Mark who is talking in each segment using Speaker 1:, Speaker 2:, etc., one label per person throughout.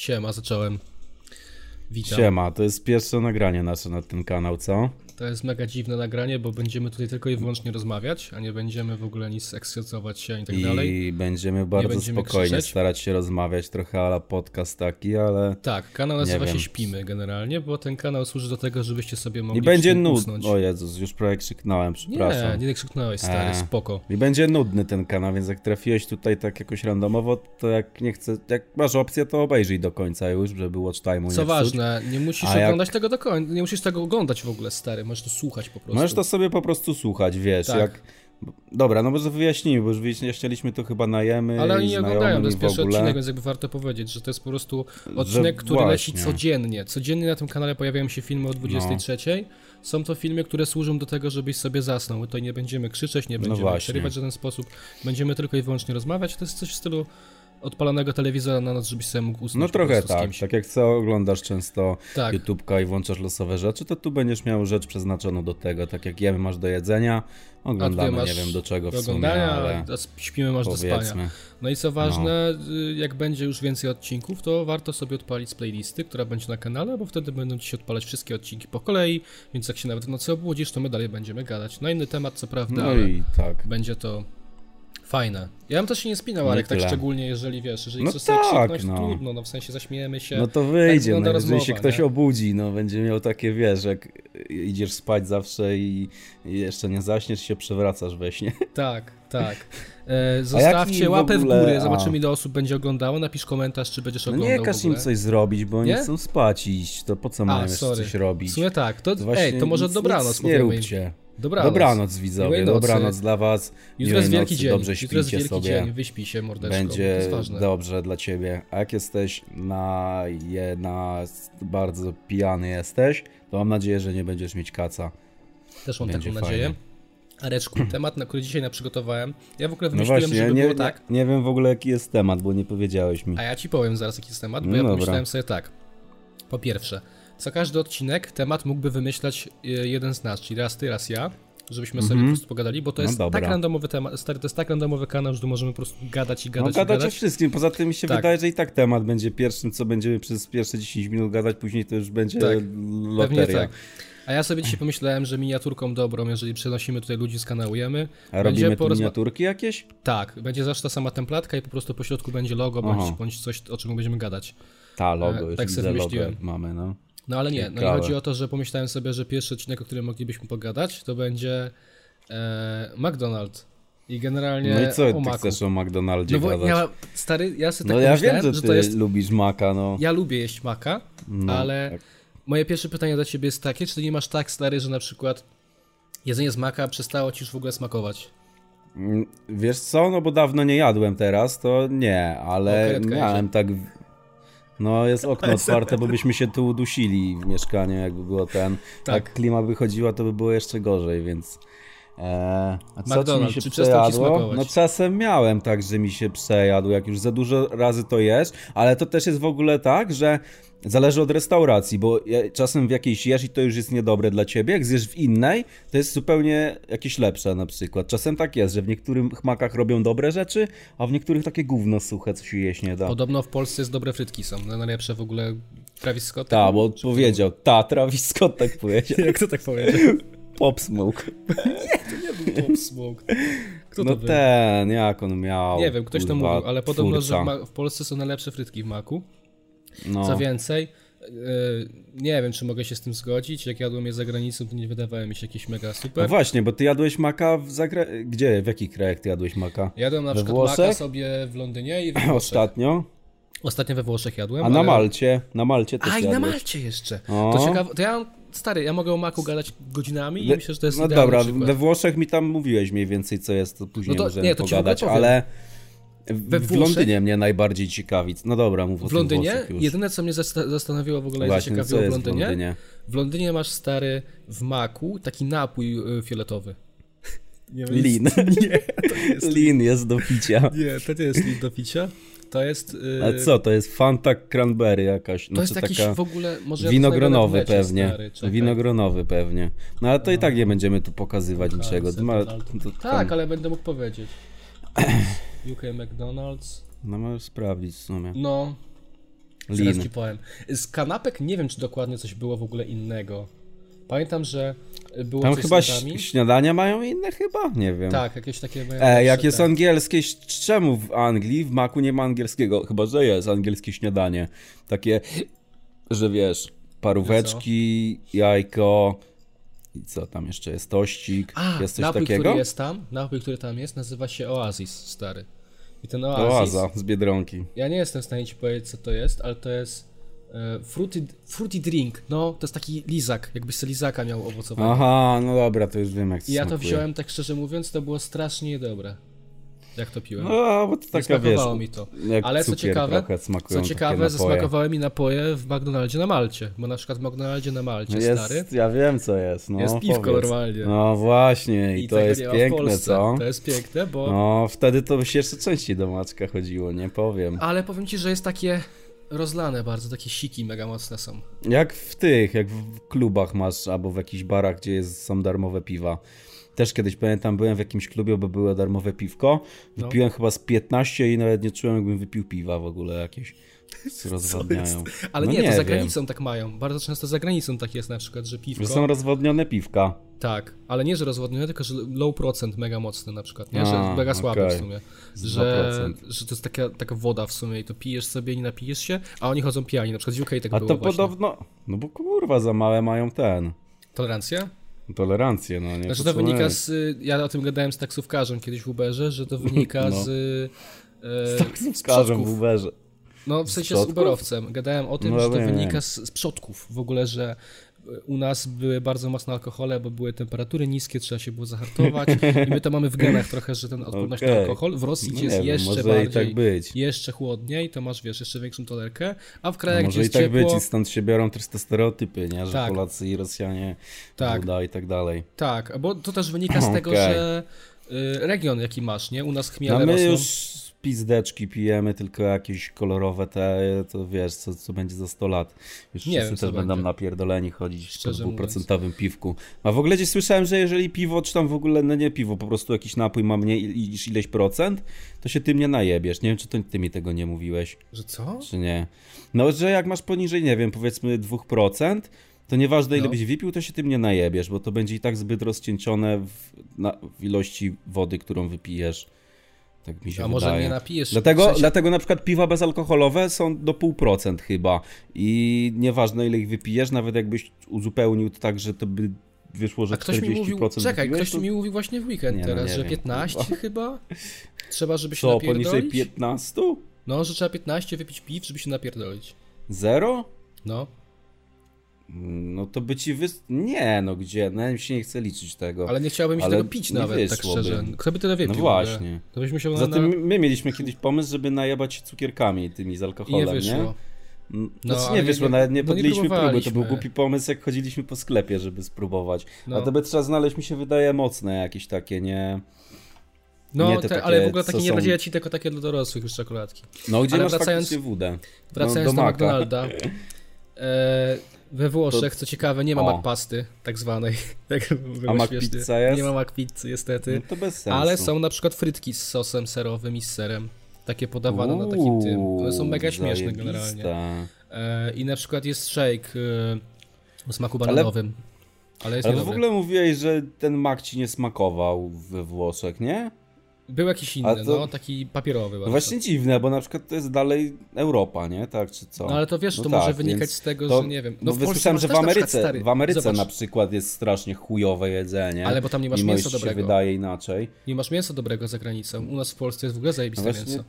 Speaker 1: Siema, zacząłem. Witam.
Speaker 2: Siema, to jest pierwsze nagranie nasze na ten kanał, co?
Speaker 1: To jest mega dziwne nagranie, bo będziemy tutaj tylko i wyłącznie rozmawiać, a nie będziemy w ogóle nic ekscytować się i tak dalej.
Speaker 2: I będziemy bardzo
Speaker 1: będziemy
Speaker 2: spokojnie
Speaker 1: krzyczeć.
Speaker 2: starać się rozmawiać, trochę ala podcast taki, ale...
Speaker 1: Tak, kanał
Speaker 2: Nie
Speaker 1: nazywa się
Speaker 2: wiem.
Speaker 1: Śpimy generalnie, bo ten kanał służy do tego, żebyście sobie mogli
Speaker 2: I będzie
Speaker 1: przy tym
Speaker 2: nudny.
Speaker 1: usnąć.
Speaker 2: O Jezus, już prawie krzyknąłem,
Speaker 1: Nie,
Speaker 2: przepraszam.
Speaker 1: nie tak krzyknąłeś, stary,
Speaker 2: Eee.
Speaker 1: spoko.
Speaker 2: I będzie nudny ten kanał, więc jak trafiłeś tutaj tak jakoś randomowo, to jak nie chcę, jak masz opcję, to obejrzyj do końca już, żeby watch time'u nie
Speaker 1: Co
Speaker 2: psuć.
Speaker 1: ważne, nie musisz
Speaker 2: A jak-
Speaker 1: oglądać tego do końca, nie musisz tego oglądać w ogóle, stary, możesz to słuchać po prostu.
Speaker 2: Możesz to sobie po prostu słuchać, wiesz,
Speaker 1: Tak.
Speaker 2: jak... Dobra, no może wyjaśnijmy, bo już wyjaśnialiśmy to chyba najemy
Speaker 1: Ale
Speaker 2: i
Speaker 1: oni nie
Speaker 2: znajomym
Speaker 1: oglądają,
Speaker 2: i
Speaker 1: to jest
Speaker 2: w
Speaker 1: pierwszy
Speaker 2: ogóle.
Speaker 1: odcinek, więc jakby warto powiedzieć, że to jest po prostu odcinek,
Speaker 2: Że
Speaker 1: który leci
Speaker 2: właśnie. No.
Speaker 1: codziennie. Codziennie na tym kanale pojawiają się filmy o 23. Są to filmy, które służą do tego, żebyś sobie zasnął. My to nie będziemy krzyczeć, nie będziemy
Speaker 2: No właśnie.
Speaker 1: przerywać w żaden sposób. Będziemy tylko i wyłącznie rozmawiać. To jest coś w stylu odpalanego telewizora na noc, żebyś sobie mógł usnąć
Speaker 2: No
Speaker 1: po
Speaker 2: trochę
Speaker 1: prostu z
Speaker 2: tak.
Speaker 1: kimś.
Speaker 2: Tak jak co oglądasz często
Speaker 1: Tak.
Speaker 2: YouTube'ka i włączasz losowe rzeczy, to tu będziesz miał rzecz przeznaczoną do tego. Tak jak jemy masz do jedzenia,
Speaker 1: A ty
Speaker 2: oglądamy,
Speaker 1: masz
Speaker 2: nie wiem do czego
Speaker 1: do
Speaker 2: w sumie,
Speaker 1: oglądania,
Speaker 2: ale
Speaker 1: a śpimy masz do spania.
Speaker 2: powiedzmy.
Speaker 1: No i co ważne, y, jak będzie już więcej odcinków, to warto sobie odpalić z playlisty, która będzie na kanale, bo wtedy będą ci się odpalać wszystkie odcinki po kolei, więc jak się nawet w nocy obudzisz, to my dalej będziemy gadać. Na inny temat, co prawda,
Speaker 2: No
Speaker 1: ale
Speaker 2: i tak.
Speaker 1: będzie to fajne. Ja bym też się nie spinał, Arek, tak
Speaker 2: No tyle.
Speaker 1: szczególnie, jeżeli wiesz, jeżeli
Speaker 2: No
Speaker 1: chcesz sobie
Speaker 2: tak,
Speaker 1: krzyknąć, to
Speaker 2: no.
Speaker 1: trudno, no w sensie zaśmiejemy się. tak
Speaker 2: No to wyjdzie,
Speaker 1: wygląda
Speaker 2: no, jeżeli się
Speaker 1: rozmowa,
Speaker 2: ktoś
Speaker 1: nie?
Speaker 2: obudzi, no będzie miał takie, wiesz, jak idziesz spać zawsze i i jeszcze nie zaśniesz, się przewracasz we śnie.
Speaker 1: Tak, tak. E, zostawcie
Speaker 2: im w
Speaker 1: łapę w,
Speaker 2: ogóle-
Speaker 1: górę,
Speaker 2: a.
Speaker 1: zobaczymy ile osób będzie oglądało, napisz komentarz, czy będziesz
Speaker 2: No
Speaker 1: oglądał w
Speaker 2: nie każ im
Speaker 1: ogóle.
Speaker 2: coś zrobić, bo oni
Speaker 1: Nie?
Speaker 2: chcą spać i iść, to po co mają jeszcze
Speaker 1: sorry.
Speaker 2: coś
Speaker 1: W
Speaker 2: robić?
Speaker 1: sumie tak, to, ej,
Speaker 2: właśnie
Speaker 1: to może
Speaker 2: nic-
Speaker 1: dobranoc
Speaker 2: nic Nie
Speaker 1: powiemy im.
Speaker 2: róbcie.
Speaker 1: Dobranoc.
Speaker 2: Dobranoc, widzowie,
Speaker 1: Miłej nocy.
Speaker 2: dobranoc dla was.
Speaker 1: Jutro jest
Speaker 2: Miłej
Speaker 1: wielki
Speaker 2: nocy,
Speaker 1: dzień.
Speaker 2: Dobrze
Speaker 1: Jutro jest
Speaker 2: śpijcie
Speaker 1: wielki
Speaker 2: sobie.
Speaker 1: dzień. Wyśpij się mordeczką.
Speaker 2: Będzie
Speaker 1: To jest ważne.
Speaker 2: dobrze dla ciebie. A jak jesteś na, je, na bardzo pijany jesteś, to mam nadzieję, że nie będziesz mieć kaca. No
Speaker 1: Też mam
Speaker 2: będzie
Speaker 1: taką nadzieję.
Speaker 2: fajnie. Hmm.
Speaker 1: Areczku, temat, na który dzisiaj na przygotowałem. Ja w ogóle
Speaker 2: No
Speaker 1: wymyśliłem,
Speaker 2: właśnie,
Speaker 1: żeby
Speaker 2: nie,
Speaker 1: było
Speaker 2: nie,
Speaker 1: tak.
Speaker 2: nie wiem w ogóle jaki jest temat, bo nie powiedziałeś mi.
Speaker 1: A ja ci powiem zaraz, jaki jest temat, bo
Speaker 2: No
Speaker 1: ja
Speaker 2: dobra.
Speaker 1: pomyślałem sobie tak. Po pierwsze, co każdy odcinek temat mógłby wymyślać y, jeden z nas, czyli raz ty, raz ja, żebyśmy sobie po prostu pogadali, bo to
Speaker 2: No
Speaker 1: jest tak
Speaker 2: dobra.
Speaker 1: randomowy temat, stary, to jest tak randomowy kanał, że tu możemy po prostu gadać i
Speaker 2: No
Speaker 1: gadać i
Speaker 2: gadać o
Speaker 1: gadać.
Speaker 2: wszystkim, poza tym mi się
Speaker 1: Tak.
Speaker 2: wydaje, że i tak temat będzie pierwszym, co będziemy przez pierwsze 10 minut gadać, później to już będzie
Speaker 1: Tak, Pewnie
Speaker 2: loteria.
Speaker 1: tak. A ja sobie dzisiaj pomyślałem, że miniaturką dobrą, jeżeli przenosimy tutaj ludzi z kanału Jemy,
Speaker 2: A robimy tu
Speaker 1: porozma-
Speaker 2: miniaturki jakieś?
Speaker 1: Tak, będzie zawsze ta sama templatka i po prostu po środku będzie logo bądź,
Speaker 2: Aha.
Speaker 1: bądź coś, o czym będziemy gadać.
Speaker 2: Ta, logo,
Speaker 1: E,
Speaker 2: już
Speaker 1: tak
Speaker 2: tak
Speaker 1: sobie
Speaker 2: widzę logo
Speaker 1: wymyśliłem.
Speaker 2: mamy, no.
Speaker 1: No ale nie, no i
Speaker 2: Ciekawe.
Speaker 1: chodzi o to, że pomyślałem sobie, że pierwszy odcinek, o którym moglibyśmy pogadać, to będzie e, McDonald's. I generalnie
Speaker 2: No i co
Speaker 1: o
Speaker 2: ty
Speaker 1: maku.
Speaker 2: chcesz o McDonaldzie
Speaker 1: No bo
Speaker 2: gadać?
Speaker 1: ja, stary, ja sobie tak
Speaker 2: no ja
Speaker 1: pomyślałem,
Speaker 2: wiem, że ty No,
Speaker 1: że to jest...
Speaker 2: lubisz maka, no.
Speaker 1: Ja lubię jeść maka, ale
Speaker 2: tak.
Speaker 1: moje pierwsze pytanie do ciebie jest takie, czy ty nie masz tak, stary, że na przykład jedzenie z maka przestało ci już w ogóle smakować?
Speaker 2: Mm, Wiesz co, no bo dawno nie jadłem teraz, to nie,
Speaker 1: O,
Speaker 2: ale
Speaker 1: karetka
Speaker 2: miałem tak... No jest okno otwarte, bo byśmy się tu udusili w mieszkaniu, jakby było ten...
Speaker 1: Tak.
Speaker 2: Tak. Jak klima wychodziła, to by było jeszcze gorzej, więc... Eee, a co ci mi
Speaker 1: McDonald's,
Speaker 2: się
Speaker 1: czy przestał ci
Speaker 2: przejadło?
Speaker 1: smakować?
Speaker 2: No czasem miałem tak, że mi się przejadł, jak już za dużo razy to jesz, ale to też jest w ogóle tak, że zależy od restauracji, bo je- czasem w jakiejś jesz i to już jest niedobre dla ciebie, jak zjesz w innej, to jest zupełnie jakieś lepsze na przykład. Czasem tak jest, że w niektórych makach robią dobre rzeczy, a w niektórych takie gówno suche, co się jeść nie da.
Speaker 1: Podobno w Polsce jest dobre frytki są, no najlepsze w ogóle Travis Scott.
Speaker 2: Ta, Tak, bo powiedział, ta, Travis Scott tak powiedział,
Speaker 1: Jak to tak powiedział?
Speaker 2: pop smoke.
Speaker 1: Pop Smoke. Kto
Speaker 2: No
Speaker 1: to był?
Speaker 2: ten, jak on miał.
Speaker 1: Nie wiem, ktoś to
Speaker 2: kurwa,
Speaker 1: mówił, ale podobno, że
Speaker 2: twórca.
Speaker 1: w, ma- w Polsce są najlepsze frytki w maku.
Speaker 2: No.
Speaker 1: Co więcej, yy, nie wiem, czy mogę się z tym zgodzić. Jak jadłem je za granicą, to nie wydawały mi się jakieś mega
Speaker 2: No
Speaker 1: super.
Speaker 2: właśnie, bo ty jadłeś maka w zagra... Gdzie? W jakich krajach ty jadłeś maka?
Speaker 1: Jadłem na
Speaker 2: We
Speaker 1: przykład
Speaker 2: Włoszech?
Speaker 1: maka sobie w Londynie i we Włoszech.
Speaker 2: Ostatnio?
Speaker 1: Ostatnio we Włoszech jadłem.
Speaker 2: A na
Speaker 1: ale-
Speaker 2: Malcie? Na Malcie też
Speaker 1: A i
Speaker 2: jadłeś. No.
Speaker 1: na Malcie jeszcze.
Speaker 2: O.
Speaker 1: To ciekawe. To ja mam, stary, ja mogę o maku gadać godzinami i myślę, że to jest
Speaker 2: No
Speaker 1: idealny
Speaker 2: dobra,
Speaker 1: przykład.
Speaker 2: we Włoszech mi tam mówiłeś mniej więcej co jest, to później
Speaker 1: No to-
Speaker 2: możemy
Speaker 1: nie, to ci w ogóle
Speaker 2: pogadać,
Speaker 1: powiem.
Speaker 2: ale w,
Speaker 1: We
Speaker 2: w
Speaker 1: Włoszech-
Speaker 2: Londynie mnie najbardziej ciekawi. No dobra, mów o
Speaker 1: W
Speaker 2: tym
Speaker 1: Londynie,
Speaker 2: Włoszech już.
Speaker 1: jedyne co mnie zasta- zastanowiło w ogóle i
Speaker 2: Właśnie,
Speaker 1: zaciekawiło
Speaker 2: co
Speaker 1: w
Speaker 2: jest w
Speaker 1: Londynie,
Speaker 2: Londynie?
Speaker 1: W Londynie masz stary w maku taki napój y, fioletowy. Nie wiem,
Speaker 2: Lin. Lin jest do picia.
Speaker 1: Nie, to nie jest lid do picia. To jest. y,
Speaker 2: A co, to jest Fanta Cranberry jakaś?
Speaker 1: To jest
Speaker 2: znaczy
Speaker 1: jakiś
Speaker 2: taka...
Speaker 1: w ogóle. Może ja to
Speaker 2: Winogronowy
Speaker 1: znajdę na necie,
Speaker 2: pewnie.
Speaker 1: stary, czekaj.
Speaker 2: Winogronowy pewnie. No ale to i tak nie będziemy tu pokazywać niczego.
Speaker 1: sobie
Speaker 2: Ma,
Speaker 1: to-
Speaker 2: to,
Speaker 1: Tak, ale będę mógł powiedzieć. UK McDonald's.
Speaker 2: No możesz sprawdzić w sumie.
Speaker 1: No. Zaraz
Speaker 2: Lin.
Speaker 1: ci powiem. Z kanapek nie wiem, czy dokładnie coś było w ogóle innego. Pamiętam, że było
Speaker 2: Tam
Speaker 1: coś
Speaker 2: chyba
Speaker 1: z nutami.
Speaker 2: ś- śniadania mają inne chyba? Nie wiem.
Speaker 1: Tak, jakieś takie... mają
Speaker 2: E, jak
Speaker 1: zawsze tak.
Speaker 2: jest
Speaker 1: te-
Speaker 2: angielskie, ś- czemu w Anglii w maku nie ma angielskiego? Chyba, że jest angielskie śniadanie. Takie, że wiesz, paróweczki, jajko i co tam jeszcze jest, tościk,
Speaker 1: A,
Speaker 2: jest coś
Speaker 1: napój,
Speaker 2: takiego?
Speaker 1: który jest tam, napój, który tam jest, nazywa się Oasis, stary. I ten Oasis...
Speaker 2: Oaza z Biedronki.
Speaker 1: Ja nie jestem w stanie ci powiedzieć, co to jest, ale to jest e, fruity, fruity drink. No, to jest taki lizak, jakbyś sobie lizaka miał owocowego.
Speaker 2: Aha, no dobra, to już wiem jak
Speaker 1: I Tak. ja to
Speaker 2: smakuje.
Speaker 1: wziąłem, tak szczerze mówiąc, to było strasznie dobre. Jak to piłem.
Speaker 2: No, bo to
Speaker 1: Nie
Speaker 2: taka, wiesz,
Speaker 1: smakowało mi to.
Speaker 2: jak
Speaker 1: Ale co
Speaker 2: cukier
Speaker 1: ciekawe,
Speaker 2: trochę smakują
Speaker 1: co
Speaker 2: takie
Speaker 1: ciekawe,
Speaker 2: napoje.
Speaker 1: zasmakowały mi napoje w McDonaldzie na Malcie. Bo na przykład w McDonaldzie na Malcie, stary,
Speaker 2: Jest, ja wiem co jest, no
Speaker 1: jest piwko
Speaker 2: powiedz.
Speaker 1: normalnie.
Speaker 2: No właśnie, i, to
Speaker 1: tego
Speaker 2: jest
Speaker 1: nie ma w
Speaker 2: piękne,
Speaker 1: Polsce.
Speaker 2: co?
Speaker 1: To jest piękne, bo...
Speaker 2: No, wtedy to by się jeszcze częściej do Maćka chodziło, nie powiem.
Speaker 1: Ale powiem ci, że jest takie rozlane bardzo, takie siki mega mocne są.
Speaker 2: Jak w tych, jak w klubach masz, albo w jakichś barach, gdzie jest, są darmowe piwa. Też kiedyś pamiętam, byłem w jakimś klubie, bo było darmowe piwko.
Speaker 1: No.
Speaker 2: Wypiłem chyba z 15 i nawet nie czułem, jakbym wypił piwa w ogóle jakieś. Rozwadniają.
Speaker 1: Ale
Speaker 2: no
Speaker 1: nie, to za
Speaker 2: wiem.
Speaker 1: granicą tak mają. Bardzo często za granicą tak jest na przykład, że piwko.
Speaker 2: Że są rozwodnione piwka.
Speaker 1: Tak, ale nie, że rozwodnione, tylko że low procent mega mocny na przykład, nie? Że
Speaker 2: A,
Speaker 1: mega słaby
Speaker 2: okej.
Speaker 1: w sumie.
Speaker 2: Z
Speaker 1: Że,
Speaker 2: 2%.
Speaker 1: że to jest taka, taka woda w sumie i to pijesz sobie i nie napijesz się, a oni chodzą pijani. Na przykład w UK tak
Speaker 2: A
Speaker 1: było
Speaker 2: to
Speaker 1: właśnie.
Speaker 2: podobno. No bo kurwa, za małe mają ten.
Speaker 1: Tolerancja?
Speaker 2: Tolerancję, no nie.
Speaker 1: Znaczy to
Speaker 2: co
Speaker 1: wynika
Speaker 2: my.
Speaker 1: z... y, Ja o tym gadałem z taksówkarzem kiedyś w Uberze, że to wynika
Speaker 2: No.
Speaker 1: z... y, e,
Speaker 2: Z Każą Tak, w
Speaker 1: przodków.
Speaker 2: Uberze.
Speaker 1: No, w sensie z
Speaker 2: przodków?
Speaker 1: uberowcem. Gadałem o tym,
Speaker 2: No,
Speaker 1: że to
Speaker 2: nie, nie.
Speaker 1: wynika z, z przodków w ogóle, że y, u nas były bardzo mocne alkohole, bo były temperatury niskie, trzeba się było zahartować i my to mamy w genach trochę, że ten odporność na
Speaker 2: Okej.
Speaker 1: alkohol. W Rosji
Speaker 2: No
Speaker 1: gdzie jest
Speaker 2: nie wiem,
Speaker 1: jeszcze
Speaker 2: może i
Speaker 1: bardziej,
Speaker 2: tak być.
Speaker 1: jeszcze chłodniej, to masz, wiesz, jeszcze większą tolerkę, a w
Speaker 2: No
Speaker 1: krajach, gdzie
Speaker 2: może i
Speaker 1: jest
Speaker 2: tak
Speaker 1: ciepło,
Speaker 2: być i stąd się biorą też te stereotypy, nie? Że
Speaker 1: Tak.
Speaker 2: Polacy i Rosjanie,
Speaker 1: Tak.
Speaker 2: woda i tak dalej.
Speaker 1: tak, bo to też wynika z tego,
Speaker 2: Okej.
Speaker 1: że y, region jaki masz, nie? U nas
Speaker 2: No
Speaker 1: chmiele
Speaker 2: my
Speaker 1: rosną.
Speaker 2: już z pizdeczki pijemy, tylko jakieś kolorowe te, to wiesz, co, co będzie za 100 lat. Już
Speaker 1: Nie
Speaker 2: wszyscy
Speaker 1: wiem, co
Speaker 2: też będą
Speaker 1: będzie.
Speaker 2: napierdoleni chodzić po
Speaker 1: Szczerze
Speaker 2: dwuprocentowym piwku. A w ogóle gdzieś słyszałem, że jeżeli piwo, czy tam w ogóle, no nie piwo, po prostu jakiś napój ma mniej i- niż ileś procent, to się tym nie najebiesz. Nie wiem, czy to, ty mi tego nie mówiłeś.
Speaker 1: Że co?
Speaker 2: Czy nie? No, że jak masz poniżej, nie wiem, powiedzmy 2%, to nieważne ile
Speaker 1: No.
Speaker 2: byś wypił, to się tym nie najebiesz, bo to będzie i tak zbyt rozcieńczone w, na, w ilości wody, którą wypijesz. Tak mi się
Speaker 1: A
Speaker 2: wydaje.
Speaker 1: może nie napijesz?
Speaker 2: Dlatego,
Speaker 1: W sensie-
Speaker 2: dlatego na przykład piwa bezalkoholowe są do 0,5% chyba i nieważne ile ich wypijesz, nawet jakbyś uzupełnił to tak, że to by wyszło, że
Speaker 1: A ktoś
Speaker 2: 40%
Speaker 1: mi mówił, czekaj,
Speaker 2: wypiłeś,
Speaker 1: ktoś
Speaker 2: to...
Speaker 1: mi mówił właśnie w weekend
Speaker 2: Nie, no,
Speaker 1: teraz,
Speaker 2: nie
Speaker 1: że
Speaker 2: wiem,
Speaker 1: 15 chyba? Trzeba, żeby się
Speaker 2: Co, poniżej
Speaker 1: napierdolić?
Speaker 2: 15?
Speaker 1: No, że trzeba 15 wypić piw, żeby się napierdolić.
Speaker 2: Zero?
Speaker 1: No,
Speaker 2: No to by ci wy... Nie, no gdzie? No, mi się nie chce liczyć tego.
Speaker 1: ale nie chciałbym się
Speaker 2: Ale
Speaker 1: tego pić
Speaker 2: nie
Speaker 1: nawet, tak
Speaker 2: wyszłoby.
Speaker 1: szczerze. Kto by tyle
Speaker 2: No
Speaker 1: wypił? w ogóle?
Speaker 2: właśnie.
Speaker 1: To byśmy się na...
Speaker 2: Zatem my mieliśmy kiedyś pomysł, żeby najebać się cukierkami tymi z
Speaker 1: I nie
Speaker 2: alkoholem, nie?
Speaker 1: wyszło.
Speaker 2: No,
Speaker 1: No,
Speaker 2: znaczy
Speaker 1: ale
Speaker 2: nie wyszło,
Speaker 1: nie-
Speaker 2: nawet
Speaker 1: no
Speaker 2: nie
Speaker 1: nie
Speaker 2: podjęliśmy próby. To był
Speaker 1: próbowaliśmy.
Speaker 2: głupi pomysł, jak chodziliśmy po sklepie, żeby spróbować.
Speaker 1: No.
Speaker 2: A to by trzeba znaleźć, mi się wydaje, mocne jakieś takie, nie?
Speaker 1: No,
Speaker 2: Nie, te
Speaker 1: te,
Speaker 2: takie,
Speaker 1: ale w ogóle
Speaker 2: co
Speaker 1: takie nie
Speaker 2: są-
Speaker 1: radziłem ci, tylko takie dla dorosłych już czekoladki.
Speaker 2: No, gdzie
Speaker 1: Ale
Speaker 2: masz
Speaker 1: wracając-
Speaker 2: faktycznie wódę?
Speaker 1: Wracając do
Speaker 2: no, Maca.
Speaker 1: McDonalda. E, we Włoszech, co ciekawe, nie ma
Speaker 2: O.
Speaker 1: McPasty, tak zwanej. Tak
Speaker 2: A
Speaker 1: było śmiesznie.
Speaker 2: McPizza jest?
Speaker 1: Nie ma McPizzy, niestety.
Speaker 2: No to bez sensu.
Speaker 1: Ale są na przykład frytki z sosem serowym i z serem. Takie podawane no, na takim tym. One są mega
Speaker 2: Uuu,
Speaker 1: śmieszne generalnie.
Speaker 2: zajebiste.
Speaker 1: E, I na przykład jest shake e, o smaku bananowym. Ale, jest
Speaker 2: Ale w
Speaker 1: niedobry.
Speaker 2: ogóle mówiłeś, że ten mak ci nie smakował we Włoszech, nie?
Speaker 1: Był jakiś
Speaker 2: A
Speaker 1: inny,
Speaker 2: to-
Speaker 1: no taki papierowy
Speaker 2: No
Speaker 1: bardzo.
Speaker 2: właśnie dziwne, bo na przykład to jest dalej Europa, nie? Tak czy co?
Speaker 1: No ale to wiesz, to może wynikać z tego, że nie wiem.
Speaker 2: No
Speaker 1: No
Speaker 2: bo
Speaker 1: w Polsce
Speaker 2: słyszałem,
Speaker 1: masz
Speaker 2: że w
Speaker 1: też na przykład
Speaker 2: Ameryce,
Speaker 1: stary-
Speaker 2: w Ameryce
Speaker 1: zobacz.
Speaker 2: na przykład jest strasznie chujowe jedzenie.
Speaker 1: Ale bo tam nie masz
Speaker 2: mimo
Speaker 1: mięsa
Speaker 2: iż się
Speaker 1: dobrego.
Speaker 2: wydaje inaczej.
Speaker 1: Nie masz mięsa dobrego za granicą. U nas w Polsce jest w ogóle
Speaker 2: No
Speaker 1: zajebiste
Speaker 2: właśnie,
Speaker 1: mięso.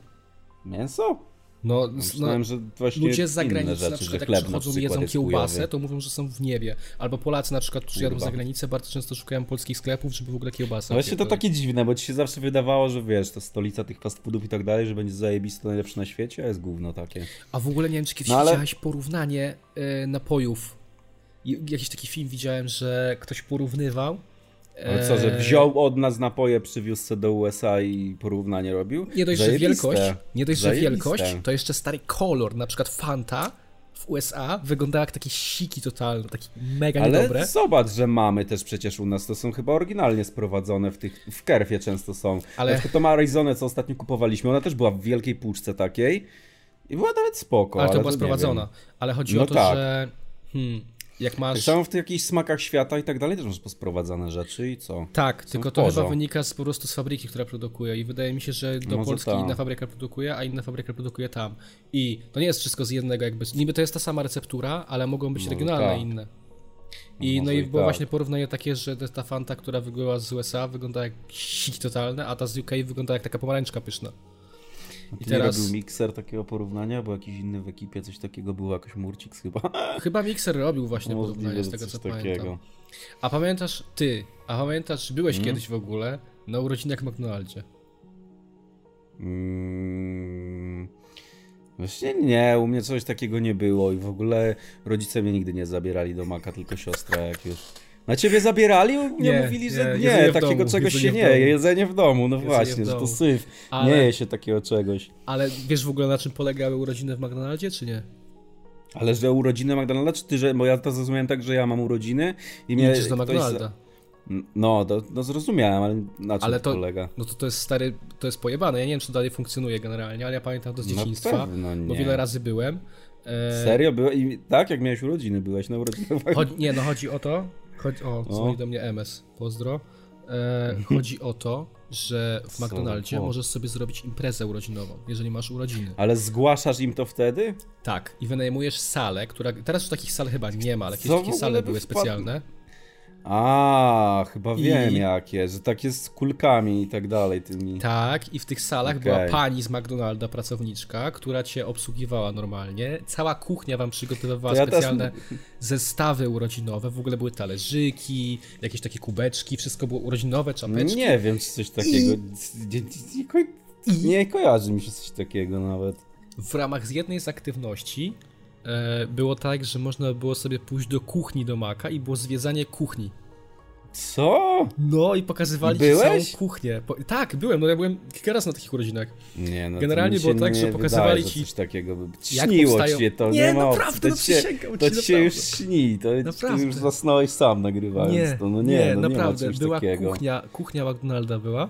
Speaker 2: mięso?
Speaker 1: No, no
Speaker 2: Myślałem, że właśnie
Speaker 1: ludzie z
Speaker 2: inne
Speaker 1: zagranicy
Speaker 2: rzeczy,
Speaker 1: na
Speaker 2: że
Speaker 1: przykład jak
Speaker 2: chleb na
Speaker 1: przychodzą i
Speaker 2: przykład
Speaker 1: jedzą
Speaker 2: jest
Speaker 1: kiełbasę,
Speaker 2: chujowy.
Speaker 1: to mówią, że są w niebie. Albo Polacy na przykład, którzy jadą
Speaker 2: Kurwa.
Speaker 1: za granicę, bardzo często szukają polskich sklepów, żeby w ogóle kiełbasę.
Speaker 2: No właśnie to
Speaker 1: pierdolić.
Speaker 2: takie dziwne, bo ci się zawsze wydawało, że wiesz, to stolica tych fast foodów i tak dalej, że będzie zajebiste, najlepsze na świecie, a jest gówno takie.
Speaker 1: A w ogóle nie wiem, czy kiedyś
Speaker 2: No ale-
Speaker 1: widziałeś porównanie e, napojów. I- Jakiś taki film widziałem, że ktoś porównywał.
Speaker 2: Ale co, że
Speaker 1: e,
Speaker 2: wziął od nas napoje, przywiózł se do USA i porównanie robił?
Speaker 1: Nie dość, że
Speaker 2: Zajebiste.
Speaker 1: wielkość, nie dość, że
Speaker 2: Zajebiste.
Speaker 1: wielkość, to jeszcze stary kolor, na przykład Fanta w USA wyglądała jak takie siki totalne, takie mega
Speaker 2: Ale
Speaker 1: niedobre.
Speaker 2: zobacz, że mamy też przecież u nas, to są chyba oryginalnie sprowadzone w tych, w kerfie często są.
Speaker 1: Ale-
Speaker 2: Ale... Na przykład tą Arizonę, co ostatnio kupowaliśmy, ona też była w wielkiej puszce takiej I była nawet spoko.
Speaker 1: Ale to
Speaker 2: ale
Speaker 1: była
Speaker 2: to nie
Speaker 1: sprowadzona.
Speaker 2: wiem.
Speaker 1: Ale chodzi
Speaker 2: No
Speaker 1: o to,
Speaker 2: tak.
Speaker 1: że hmm, jak
Speaker 2: Tak
Speaker 1: masz...
Speaker 2: samo w tych jakichś smakach świata i tak dalej też masz posprowadzane rzeczy i co?
Speaker 1: Tak, tylko to
Speaker 2: porządku.
Speaker 1: chyba wynika z, po prostu z fabryki, która produkuje i wydaje mi się, że do
Speaker 2: Może
Speaker 1: Polski
Speaker 2: tak.
Speaker 1: inna fabryka produkuje, a inna fabryka produkuje tam. I to nie jest wszystko z jednego jakby, niby to jest ta sama receptura, ale mogą być regionalne
Speaker 2: tak.
Speaker 1: inne. I
Speaker 2: Może
Speaker 1: no i
Speaker 2: i
Speaker 1: było
Speaker 2: tak.
Speaker 1: właśnie porównanie takie, że ta- ta Fanta, która wyglądała z USA wygląda jak sić totalne, a ta z UK wygląda jak taka pomarańczka pyszna. I
Speaker 2: Ty teraz...
Speaker 1: teraz
Speaker 2: nie robił mikser takiego porównania, bo jakiś inny w ekipie coś takiego był, jakoś Murcik chyba.
Speaker 1: chyba mikser robił właśnie porównanie
Speaker 2: Możliwe,
Speaker 1: z
Speaker 2: że
Speaker 1: tego co
Speaker 2: coś
Speaker 1: pamiętam.
Speaker 2: takiego. Mhm.
Speaker 1: A pamiętasz ty, a pamiętasz, byłeś kiedyś w ogóle na urodzinach w McDonaldzie.
Speaker 2: Mm, Właśnie nie, u mnie coś takiego nie było i w ogóle rodzice mnie nigdy nie zabierali do maka, tylko siostra jak już. Na ciebie zabierali? Nie,
Speaker 1: Nie,
Speaker 2: mówili,
Speaker 1: nie,
Speaker 2: że nie,
Speaker 1: jedzenie w
Speaker 2: takiego
Speaker 1: domu,
Speaker 2: czegoś się
Speaker 1: jedzenie w
Speaker 2: nie
Speaker 1: domu.
Speaker 2: je, jedzenie w domu, no
Speaker 1: Jedzenie
Speaker 2: właśnie,
Speaker 1: w
Speaker 2: że to
Speaker 1: domu.
Speaker 2: syf,
Speaker 1: Ale-
Speaker 2: nie je się takiego czegoś.
Speaker 1: Ale wiesz w ogóle na czym polegały urodziny w McDonaldzie, czy nie?
Speaker 2: Ale że urodziny Magdalena, czy ty, że, bo ja to zrozumiałem tak, że ja mam urodziny i mnie
Speaker 1: Idziesz do
Speaker 2: ktoś za-
Speaker 1: McDonalda.
Speaker 2: No, to, no zrozumiałem, ale na czym
Speaker 1: Ale
Speaker 2: to
Speaker 1: to,
Speaker 2: polega?
Speaker 1: no to, to jest stary, to jest pojebane. Ja nie wiem, czy to dalej funkcjonuje generalnie, ale ja pamiętam to z
Speaker 2: Na
Speaker 1: dzieciństwa,
Speaker 2: No pewno nie.
Speaker 1: bo wiele razy byłem. E,
Speaker 2: Serio? Była, i, tak, jak miałeś urodziny, byłeś na urodzinach
Speaker 1: chodzi, nie, no chodzi o to, chodzi, o,
Speaker 2: No.
Speaker 1: dzwoni do mnie MS, pozdro. E, chodzi o to, że w McDonaldzie
Speaker 2: chłop.
Speaker 1: możesz sobie zrobić imprezę urodzinową, jeżeli masz urodziny.
Speaker 2: Ale zgłaszasz im to wtedy?
Speaker 1: Tak, i wynajmujesz salę, która, teraz już takich sal chyba nie ma, ale
Speaker 2: Co
Speaker 1: kiedyś
Speaker 2: w
Speaker 1: takie
Speaker 2: ogóle
Speaker 1: sale
Speaker 2: by
Speaker 1: były
Speaker 2: wpadło?
Speaker 1: specjalne.
Speaker 2: A, chyba
Speaker 1: I-
Speaker 2: wiem jakie, że takie z kulkami i tak dalej tymi.
Speaker 1: Tak, i w tych salach
Speaker 2: Okej.
Speaker 1: była pani z McDonalda, pracowniczka, która cię obsługiwała normalnie. Cała kuchnia wam przygotowywała
Speaker 2: To ja teraz-
Speaker 1: specjalne zestawy urodzinowe, w ogóle były talerzyki, jakieś takie kubeczki, wszystko było urodzinowe, czapeczki.
Speaker 2: Nie wiem, czy coś takiego. Nie, nie, ko- nie kojarzy mi się coś takiego nawet.
Speaker 1: W ramach z jednej z aktywności e, było tak, że można było sobie pójść do kuchni do Maka i było zwiedzanie kuchni.
Speaker 2: Co?
Speaker 1: No i pokazywali ci całą
Speaker 2: Byłeś?
Speaker 1: kuchnię. Po, tak, byłem, no ja byłem kilka razy na takich urodzinach.
Speaker 2: Nie, no
Speaker 1: Generalnie
Speaker 2: to mi się
Speaker 1: było tak,
Speaker 2: nie
Speaker 1: że pokazywali
Speaker 2: wydaje,
Speaker 1: ci,
Speaker 2: Że coś takiego by...
Speaker 1: jak
Speaker 2: Śniło
Speaker 1: powstają-
Speaker 2: ci się to,
Speaker 1: Nie,
Speaker 2: nie, ma opcji.
Speaker 1: naprawdę,
Speaker 2: to
Speaker 1: no
Speaker 2: ci się,
Speaker 1: przysięgam
Speaker 2: To
Speaker 1: ci,
Speaker 2: ci się już
Speaker 1: naprawdę.
Speaker 2: śni, to ty
Speaker 1: Naprawdę.
Speaker 2: już zasnąłeś sam nagrywając to. No nie, no nie
Speaker 1: naprawdę,
Speaker 2: ma czegoś
Speaker 1: była
Speaker 2: takiego.
Speaker 1: kuchnia, kuchnia McDonalda była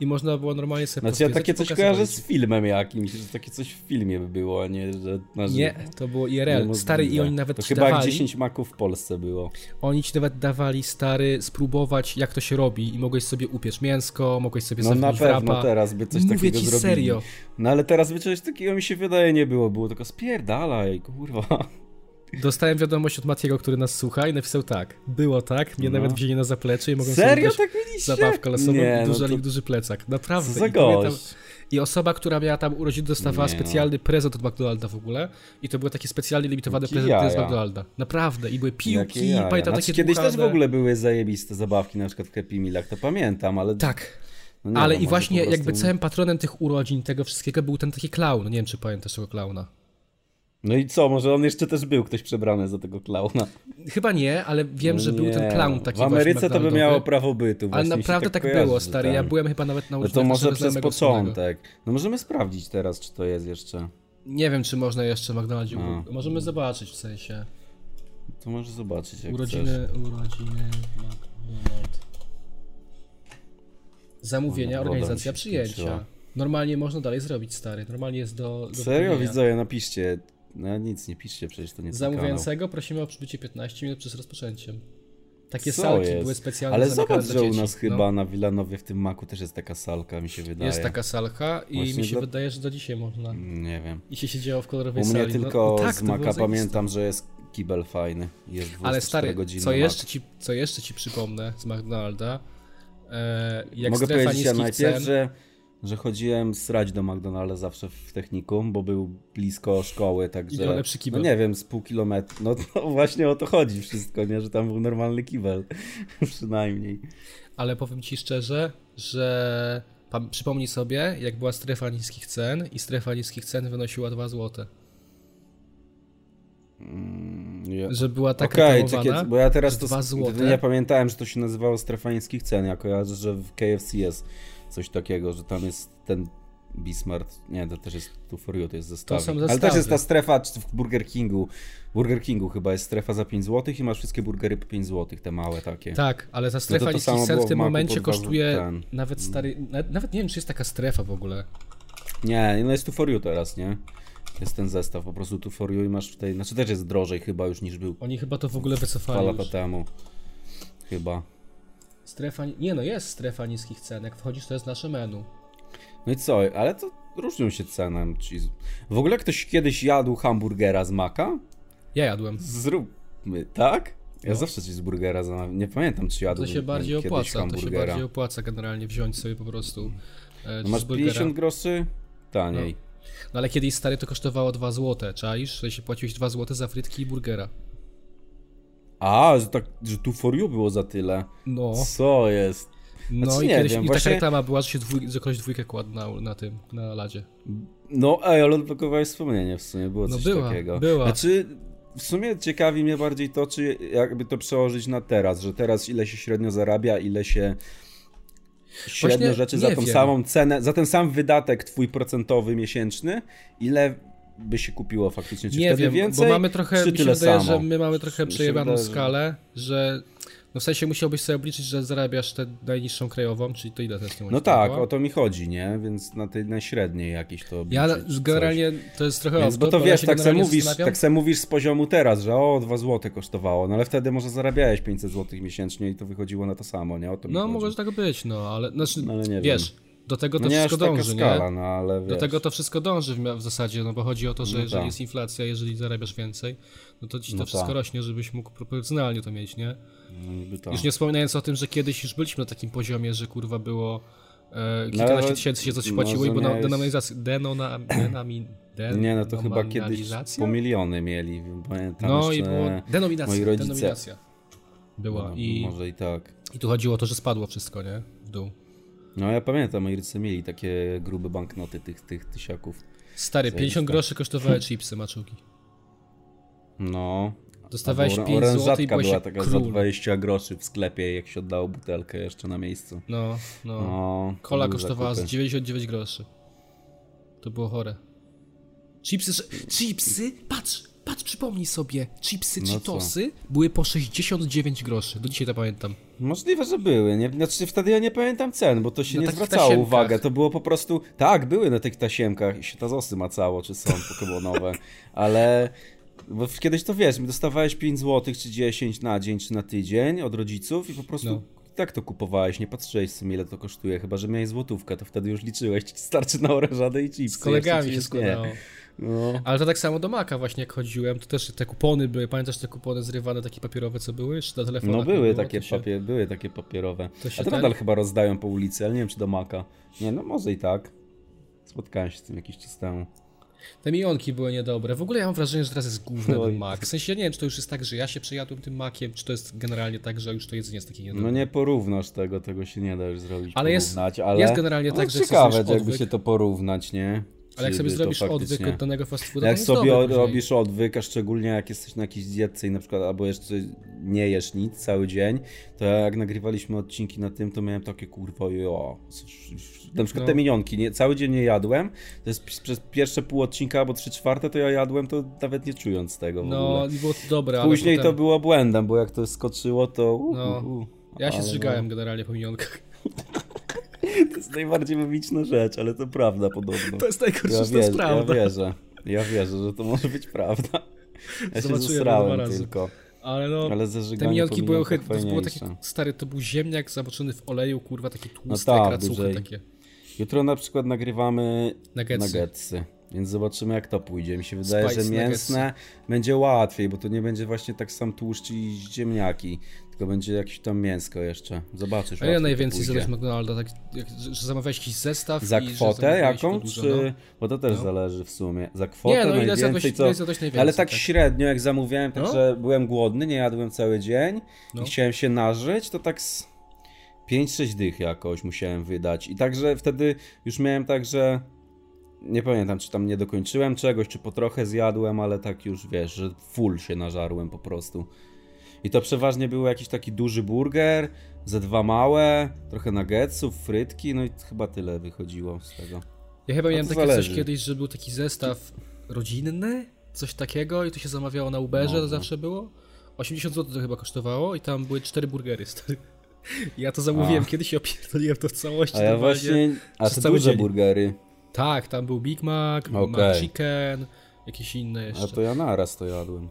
Speaker 1: i można było normalnie sobie
Speaker 2: Znaczy ja
Speaker 1: pozwiedzać
Speaker 2: takie
Speaker 1: i
Speaker 2: coś
Speaker 1: pokazywać.
Speaker 2: kojarzę z filmem jakimś, że takie coś w filmie by było, a nie, że na żywo.
Speaker 1: Nie, to było IRL,
Speaker 2: Niemożliwe.
Speaker 1: stary i oni nawet
Speaker 2: to
Speaker 1: ci
Speaker 2: chyba jak
Speaker 1: dawali,
Speaker 2: 10 maków w Polsce było.
Speaker 1: oni ci nawet dawali, stary, spróbować jak to się robi i mogłeś sobie upiec mięsko, mogłeś sobie
Speaker 2: No na
Speaker 1: zawinąć
Speaker 2: pewno
Speaker 1: wrapa.
Speaker 2: teraz by coś
Speaker 1: Mówię
Speaker 2: takiego
Speaker 1: ci
Speaker 2: zrobili.
Speaker 1: serio.
Speaker 2: No ale teraz by czegoś takiego mi się wydaje nie było, było tylko spierdalaj, kurwa.
Speaker 1: Dostałem wiadomość od Matiego, który nas słucha i napisał tak, było tak, mnie
Speaker 2: No.
Speaker 1: nawet wzięli na zaplecze i mogłem sobie
Speaker 2: Serio
Speaker 1: dać
Speaker 2: tak mieliście?
Speaker 1: zabawkę losową
Speaker 2: Nie,
Speaker 1: i
Speaker 2: no
Speaker 1: duża,
Speaker 2: to
Speaker 1: duży plecak,
Speaker 2: co
Speaker 1: naprawdę.
Speaker 2: za
Speaker 1: I pamiętam,
Speaker 2: gość.
Speaker 1: I osoba, która miała tam urodziny, dostawała
Speaker 2: Nie no.
Speaker 1: specjalny prezent od McDonalda w ogóle. I to były takie specjalnie limitowane
Speaker 2: Jakie
Speaker 1: prezenty z
Speaker 2: jaja.
Speaker 1: McDonalda. Naprawdę. I były
Speaker 2: Jakie
Speaker 1: piłki,
Speaker 2: jaja.
Speaker 1: pamiętam
Speaker 2: znaczy,
Speaker 1: takie
Speaker 2: kiedyś
Speaker 1: dmuchane.
Speaker 2: też w ogóle były zajebiste zabawki, na przykład w Happy Mealach, to pamiętam, ale...
Speaker 1: Tak.
Speaker 2: no nie
Speaker 1: Ale
Speaker 2: wiem,
Speaker 1: i
Speaker 2: może
Speaker 1: właśnie
Speaker 2: po prostu-
Speaker 1: jakby całym patronem tych urodzin, tego wszystkiego był ten taki klaun. Nie wiem, czy pamiętasz tego klauna.
Speaker 2: No i co, może on jeszcze też był ktoś przebrany za tego klauna.
Speaker 1: Chyba nie, ale wiem, że był ten
Speaker 2: Nie,
Speaker 1: klaun taki
Speaker 2: W Ameryce
Speaker 1: właśnie
Speaker 2: to by
Speaker 1: McDonaldowy.
Speaker 2: miało prawo bytu. właśnie
Speaker 1: Ale
Speaker 2: mi się
Speaker 1: naprawdę tak,
Speaker 2: kojarzy,
Speaker 1: było,
Speaker 2: że
Speaker 1: stary.
Speaker 2: ten-
Speaker 1: Ja byłem chyba nawet na
Speaker 2: No
Speaker 1: urodzinach
Speaker 2: to może
Speaker 1: naszego
Speaker 2: przez
Speaker 1: znajomego wspólnego.
Speaker 2: początek. No możemy sprawdzić teraz, czy to jest jeszcze.
Speaker 1: Nie wiem, czy można jeszcze w McDonaldzie.
Speaker 2: No.
Speaker 1: Możemy zobaczyć w sensie.
Speaker 2: To możesz zobaczyć, jak chcesz.
Speaker 1: Urodziny, urodziny, McDonald. Zamówienia,
Speaker 2: No, woda mi
Speaker 1: organizacja
Speaker 2: się
Speaker 1: przyjęcia.
Speaker 2: skończyła.
Speaker 1: Normalnie można dalej zrobić, stary. Normalnie jest do. do
Speaker 2: Serio,
Speaker 1: wypełnienia.
Speaker 2: widzowie, napiszcie. No nic, nie piszcie, przecież to nie ten kanał.
Speaker 1: Zamówiającego prosimy o przybycie 15 minut przed rozpoczęciem. Takie
Speaker 2: Co
Speaker 1: salki
Speaker 2: jest?
Speaker 1: były specjalnie
Speaker 2: Ale
Speaker 1: zamykane
Speaker 2: zobacz,
Speaker 1: dla
Speaker 2: że u
Speaker 1: dzieci.
Speaker 2: nas chyba na Wilanowie w tym maku też jest taka salka, mi się
Speaker 1: No,
Speaker 2: wydaje.
Speaker 1: jest taka salka i
Speaker 2: Właśnie
Speaker 1: mi się
Speaker 2: dla-
Speaker 1: wydaje, że do dzisiaj można.
Speaker 2: Nie wiem.
Speaker 1: I się siedziało w kolorowej
Speaker 2: U
Speaker 1: sali.
Speaker 2: mnie
Speaker 1: No-
Speaker 2: tylko
Speaker 1: no tak,
Speaker 2: z
Speaker 1: to było
Speaker 2: maka
Speaker 1: zajebiste.
Speaker 2: pamiętam, że jest kibel fajny. Jest 24
Speaker 1: Ale stary,
Speaker 2: godzinny
Speaker 1: co
Speaker 2: mak.
Speaker 1: jeszcze, ci, co jeszcze ci przypomnę z McDonalda? E, jak
Speaker 2: Mogę
Speaker 1: strefa
Speaker 2: powiedzieć ja
Speaker 1: niskich
Speaker 2: najpierw,
Speaker 1: cen-
Speaker 2: że, że chodziłem srać do McDonalda zawsze w technikum, bo był blisko szkoły, także...
Speaker 1: I miał lepszy kibel.
Speaker 2: No nie wiem, z pół kilometra. No to właśnie o to chodzi wszystko, nie? Że tam był normalny kibel. Przynajmniej.
Speaker 1: ale powiem ci szczerze, że pam- przypomnij sobie, jak była strefa niskich cen i strefa niskich cen wynosiła 2 zł.
Speaker 2: Nie.
Speaker 1: Że była tak
Speaker 2: Okej,
Speaker 1: reklamowana,
Speaker 2: czekaj, bo ja teraz
Speaker 1: że
Speaker 2: to...
Speaker 1: 2
Speaker 2: s-
Speaker 1: złote.
Speaker 2: Nie pamiętałem, że to się nazywało strefa niskich cen. Ja kojarzę, że w KFC jest coś takiego, że tam jest ten... Bismarck, nie, to też jest tu for you, to jest zestaw.
Speaker 1: są
Speaker 2: Ale też
Speaker 1: zestawy.
Speaker 2: jest ta strefa czy w Burger Kingu. Burger Kingu chyba jest strefa za 5 zł i masz wszystkie burgery po 5 zł, te małe takie.
Speaker 1: tak, ale ta strefa
Speaker 2: No to to samo
Speaker 1: niskich cen
Speaker 2: było
Speaker 1: w
Speaker 2: w
Speaker 1: tym
Speaker 2: Macu
Speaker 1: momencie
Speaker 2: pod dwa
Speaker 1: kosztuje
Speaker 2: zł ten.
Speaker 1: nawet stary, nawet, nawet nie wiem, czy jest taka strefa w ogóle.
Speaker 2: Nie, no jest tu for you teraz, nie? Jest ten zestaw po prostu tu for you i masz w tej. Znaczy też jest drożej chyba już niż był
Speaker 1: Oni chyba to w ogóle
Speaker 2: dwa
Speaker 1: wycofali.
Speaker 2: lata
Speaker 1: już.
Speaker 2: temu. Chyba.
Speaker 1: Strefa, nie no, jest strefa niskich cen. Jak wchodzisz, to jest nasze menu.
Speaker 2: No i co, ale to różnią się cenem. cheese- W ogóle ktoś kiedyś jadł hamburgera z maka?
Speaker 1: Ja jadłem.
Speaker 2: Zróbmy, tak? Ja
Speaker 1: No.
Speaker 2: zawsze ci z burgera zamawiam. Nie pamiętam, czy jadłem
Speaker 1: To się bardziej
Speaker 2: kiedyś
Speaker 1: opłaca, to się
Speaker 2: hamburgera.
Speaker 1: bardziej opłaca generalnie wziąć sobie po prostu e,
Speaker 2: No masz
Speaker 1: cheeseburgera.
Speaker 2: 50 groszy taniej.
Speaker 1: No ale kiedyś stary to kosztowało 2 zł, czaisz? Że się płaciłeś 2 zł za frytki i burgera.
Speaker 2: A, że, tak, że tu for you było za tyle.
Speaker 1: No,
Speaker 2: Co jest?
Speaker 1: no
Speaker 2: znaczy
Speaker 1: i
Speaker 2: nie
Speaker 1: kiedyś
Speaker 2: wiem,
Speaker 1: i
Speaker 2: właśnie-
Speaker 1: taka reklama była, że się dwój, że kogoś dwójkę kładł na, na tym, na ladzie.
Speaker 2: No, ej, ale odblokowałeś wspomnienie w sumie, było
Speaker 1: No
Speaker 2: coś
Speaker 1: była,
Speaker 2: takiego.
Speaker 1: była.
Speaker 2: Znaczy, w sumie ciekawi mnie bardziej to, czy jakby to przełożyć na teraz, że teraz ile się średnio zarabia, ile się średnio
Speaker 1: Właśnie
Speaker 2: rzeczy
Speaker 1: nie
Speaker 2: za tą
Speaker 1: wiem.
Speaker 2: samą cenę, za ten sam wydatek twój procentowy miesięczny, ile by się kupiło faktycznie, czy
Speaker 1: Nie
Speaker 2: wtedy
Speaker 1: wiem,
Speaker 2: więcej,
Speaker 1: bo mamy trochę,
Speaker 2: czy
Speaker 1: mi się
Speaker 2: tyle
Speaker 1: wydaje,
Speaker 2: samo?
Speaker 1: że my mamy trochę
Speaker 2: Mi się
Speaker 1: przejebaną
Speaker 2: wydaje, że-
Speaker 1: skalę, że no w sensie musiałbyś sobie obliczyć, że zarabiasz tę najniższą krajową, czyli to ile to jest? nie
Speaker 2: No
Speaker 1: będzie
Speaker 2: tak,
Speaker 1: koła?
Speaker 2: o to mi chodzi, nie? Więc na tej najśredniej jakiś to
Speaker 1: Ja
Speaker 2: obliczyć, coś.
Speaker 1: generalnie to jest trochę
Speaker 2: Więc,
Speaker 1: off
Speaker 2: bo to
Speaker 1: top, ale
Speaker 2: wiesz,
Speaker 1: się
Speaker 2: tak se,
Speaker 1: generalnie
Speaker 2: mówisz,
Speaker 1: zastanawiam.
Speaker 2: tak se mówisz z poziomu teraz, że o, 2 zł kosztowało, no ale wtedy może zarabiałeś 500 zł miesięcznie i to wychodziło na to samo, nie? O to mi
Speaker 1: No
Speaker 2: chodzi.
Speaker 1: może tak być, no ale, znaczy,
Speaker 2: No, ale nie
Speaker 1: wiesz, do tego to
Speaker 2: no nie
Speaker 1: wszystko
Speaker 2: aż taka
Speaker 1: dąży,
Speaker 2: skala,
Speaker 1: nie?
Speaker 2: no ale wiesz.
Speaker 1: Do tego to wszystko dąży w, mia- w zasadzie, no bo chodzi o to, że
Speaker 2: No
Speaker 1: jeżeli
Speaker 2: tak.
Speaker 1: jest inflacja, jeżeli zarabiasz więcej, no to ci to
Speaker 2: No
Speaker 1: wszystko
Speaker 2: tak.
Speaker 1: rośnie, żebyś mógł proporcjonalnie to mieć, nie?
Speaker 2: no, niby to.
Speaker 1: Już nie wspominając o tym, że kiedyś już byliśmy na takim poziomie, że kurwa było e,
Speaker 2: No,
Speaker 1: kilkanaście
Speaker 2: ale-
Speaker 1: tysięcy się coś
Speaker 2: no,
Speaker 1: płaciło i było na
Speaker 2: rozumiałeś-
Speaker 1: denominalizacji. Denona, denami,
Speaker 2: nie, no to chyba kiedyś
Speaker 1: denominalizacja?
Speaker 2: po miliony mieli, wiem, pamiętam
Speaker 1: No i
Speaker 2: jeszcze...
Speaker 1: było denominacja,
Speaker 2: moi rodzice.
Speaker 1: denominacja była
Speaker 2: no,
Speaker 1: i,
Speaker 2: Może i tak.
Speaker 1: i tu chodziło o to, że spadło wszystko, nie? W dół.
Speaker 2: No ja pamiętam, moi rodzice mieli takie grube banknoty tych, tych tysiaków.
Speaker 1: Stary, 50 groszy kosztowały chipsy maczugi.
Speaker 2: No.
Speaker 1: Dostawałeś
Speaker 2: Albo
Speaker 1: 5 zł i
Speaker 2: orężatka
Speaker 1: byłeś
Speaker 2: była
Speaker 1: jak
Speaker 2: taka za
Speaker 1: król.
Speaker 2: 20 groszy w sklepie, jak się oddało butelkę jeszcze na miejscu.
Speaker 1: No, no.
Speaker 2: No, to
Speaker 1: Kola
Speaker 2: były
Speaker 1: kosztowała z
Speaker 2: zakupy.
Speaker 1: 99 groszy. To było chore. Chipsy, sze- chipsy, patrz, patrz, przypomnij sobie. Chipsy,
Speaker 2: No co?
Speaker 1: Cheetosy były po 69 groszy. Do dzisiaj to pamiętam.
Speaker 2: Możliwe, że były. Nie, znaczy wtedy ja nie pamiętam cen, bo to się
Speaker 1: Na
Speaker 2: nie
Speaker 1: takich
Speaker 2: zwracało
Speaker 1: tasiemkach.
Speaker 2: uwagę. To było po prostu. Tak, były na tych tasiemkach i się tazosy macało, czy są pokebonowe, ale. Bo w- kiedyś to wiesz, dostawałeś 5 zł czy 10 na dzień czy na tydzień od rodziców i po prostu
Speaker 1: No.
Speaker 2: tak to kupowałeś, nie patrzyłeś w sumie ile to kosztuje, chyba że miałeś złotówkę, to wtedy już liczyłeś, czy starczy na orężadę i chipsy.
Speaker 1: Z kolegami
Speaker 2: jeszcze
Speaker 1: się
Speaker 2: ci nie.
Speaker 1: składało.
Speaker 2: No.
Speaker 1: Ale to tak samo do Maka właśnie jak chodziłem, to też te kupony były. Pamiętasz te kupony zrywane, takie papierowe, co były? Czy na telefonach
Speaker 2: No
Speaker 1: nie
Speaker 2: były
Speaker 1: było?
Speaker 2: takie,
Speaker 1: To się-
Speaker 2: papie- były takie papierowe.
Speaker 1: To się tak-
Speaker 2: A to
Speaker 1: ten-
Speaker 2: nadal chyba rozdają po ulicy, ale nie wiem czy do Maka. Nie, no może i tak. Spotkałem się z tym jakiś czas temu.
Speaker 1: Te minionki były niedobre. W ogóle ja mam wrażenie, że teraz jest główny
Speaker 2: Oj.
Speaker 1: ten mak. W sensie ja nie wiem, czy to już jest tak, że ja się przejadłem tym makiem, czy to jest generalnie tak, że już to jedzenie jest takie niedobre.
Speaker 2: No nie porównasz tego, tego się nie da już zrobić,
Speaker 1: Ale jest-
Speaker 2: porównać, ale...
Speaker 1: jest generalnie
Speaker 2: No
Speaker 1: tak, że jak sobie
Speaker 2: ciekawe,
Speaker 1: zrobisz
Speaker 2: że jakby
Speaker 1: odwyk-
Speaker 2: się to porównać, nie?
Speaker 1: Ale jak
Speaker 2: Czy
Speaker 1: sobie
Speaker 2: by to
Speaker 1: zrobisz odwyk
Speaker 2: faktycznie-
Speaker 1: od danego fast fooda,
Speaker 2: Jak
Speaker 1: to
Speaker 2: sobie
Speaker 1: jest dobre później.
Speaker 2: robisz odwyk, a szczególnie jak jesteś na jakiejś dietce i na przykład albo jeszcze nie jesz nic cały dzień, to ja jak nagrywaliśmy odcinki na tym, to miałem takie kurwa jo. Na przykład
Speaker 1: No.
Speaker 2: te minionki, nie, cały dzień nie jadłem, to jest pi- przez pierwsze pół odcinka albo trzy czwarte to ja jadłem, to nawet nie czując tego w
Speaker 1: No,
Speaker 2: ogóle.
Speaker 1: i było to dobre, ale
Speaker 2: Później
Speaker 1: potem...
Speaker 2: to było błędem, bo jak to skoczyło, to u,
Speaker 1: No.
Speaker 2: u, u.
Speaker 1: Ja się
Speaker 2: Ale no,
Speaker 1: zżygałem generalnie po minionkach.
Speaker 2: To jest najbardziej mimiczna rzecz, ale to prawda podobno.
Speaker 1: To jest najgorsza
Speaker 2: Ja,
Speaker 1: to jest
Speaker 2: wierzę,
Speaker 1: prawda.
Speaker 2: ja wierzę, ja wierzę, że to może być prawda. Ja
Speaker 1: Zobaczyłem
Speaker 2: się
Speaker 1: dwa
Speaker 2: zesrałem
Speaker 1: razy.
Speaker 2: tylko,
Speaker 1: Ale no,
Speaker 2: ale
Speaker 1: te
Speaker 2: zażeganie
Speaker 1: minionki były
Speaker 2: chyba
Speaker 1: chyba, to było takie,
Speaker 2: fajniejsze.
Speaker 1: stary, to był ziemniak zamoczony w oleju, kurwa, takie tłuste
Speaker 2: tak,
Speaker 1: kracuchy
Speaker 2: dużej.
Speaker 1: takie.
Speaker 2: Jutro na przykład nagrywamy
Speaker 1: Nuggetsy.
Speaker 2: nuggetsy, więc zobaczymy jak to pójdzie. Mi się wydaje,
Speaker 1: Spice
Speaker 2: że mięsne będzie łatwiej, bo to nie będzie właśnie tak sam tłuszcz i ziemniaki, tylko będzie jakieś tam mięsko jeszcze. Zobaczysz.
Speaker 1: A ile
Speaker 2: łatwiej to
Speaker 1: najwięcej
Speaker 2: pójdzie.
Speaker 1: zadać McDonalda, tak, jak, że że zamawiałeś jakiś zestaw
Speaker 2: Za
Speaker 1: i że
Speaker 2: kwotę
Speaker 1: zamówiłeś
Speaker 2: jaką?
Speaker 1: podłużoną?
Speaker 2: Czy... Bo to też
Speaker 1: No.
Speaker 2: zależy w sumie. Za kwotę
Speaker 1: Nie, no ile
Speaker 2: najwięcej,
Speaker 1: zjadłeś,
Speaker 2: co...
Speaker 1: ile zjadłeś najwięcej.
Speaker 2: Ale tak średnio, jak zamówiłem, tak
Speaker 1: No.
Speaker 2: że byłem głodny, nie jadłem cały dzień
Speaker 1: No.
Speaker 2: i chciałem się nażyć, to tak z 5-6 dych jakoś musiałem wydać. I także wtedy już miałem tak, że nie pamiętam, czy tam nie dokończyłem czegoś, czy po trochę zjadłem, ale tak już wiesz, że full się nażarłem po prostu. I to przeważnie był jakiś taki duży burger, ze dwa małe, trochę nuggetsów, frytki, no i chyba tyle wychodziło z tego.
Speaker 1: Ja chyba
Speaker 2: A
Speaker 1: miałem
Speaker 2: to
Speaker 1: takie
Speaker 2: zależy.
Speaker 1: coś kiedyś, że był taki zestaw rodzinny, coś takiego i to się zamawiało na Uberze, to
Speaker 2: Może.
Speaker 1: zawsze było. 80 zł to chyba kosztowało i tam były cztery burgery stary. Ja to zamówiłem
Speaker 2: A.
Speaker 1: kiedyś i opierdoliłem to w całości.
Speaker 2: A ja
Speaker 1: normalnie.
Speaker 2: właśnie, a
Speaker 1: przez
Speaker 2: te
Speaker 1: cały
Speaker 2: duże
Speaker 1: dzień.
Speaker 2: burgery.
Speaker 1: Tak, tam był Big Mac,
Speaker 2: Okej.
Speaker 1: okay. Chicken, jakieś inne
Speaker 2: A
Speaker 1: jeszcze.
Speaker 2: to ja naraz to jadłem.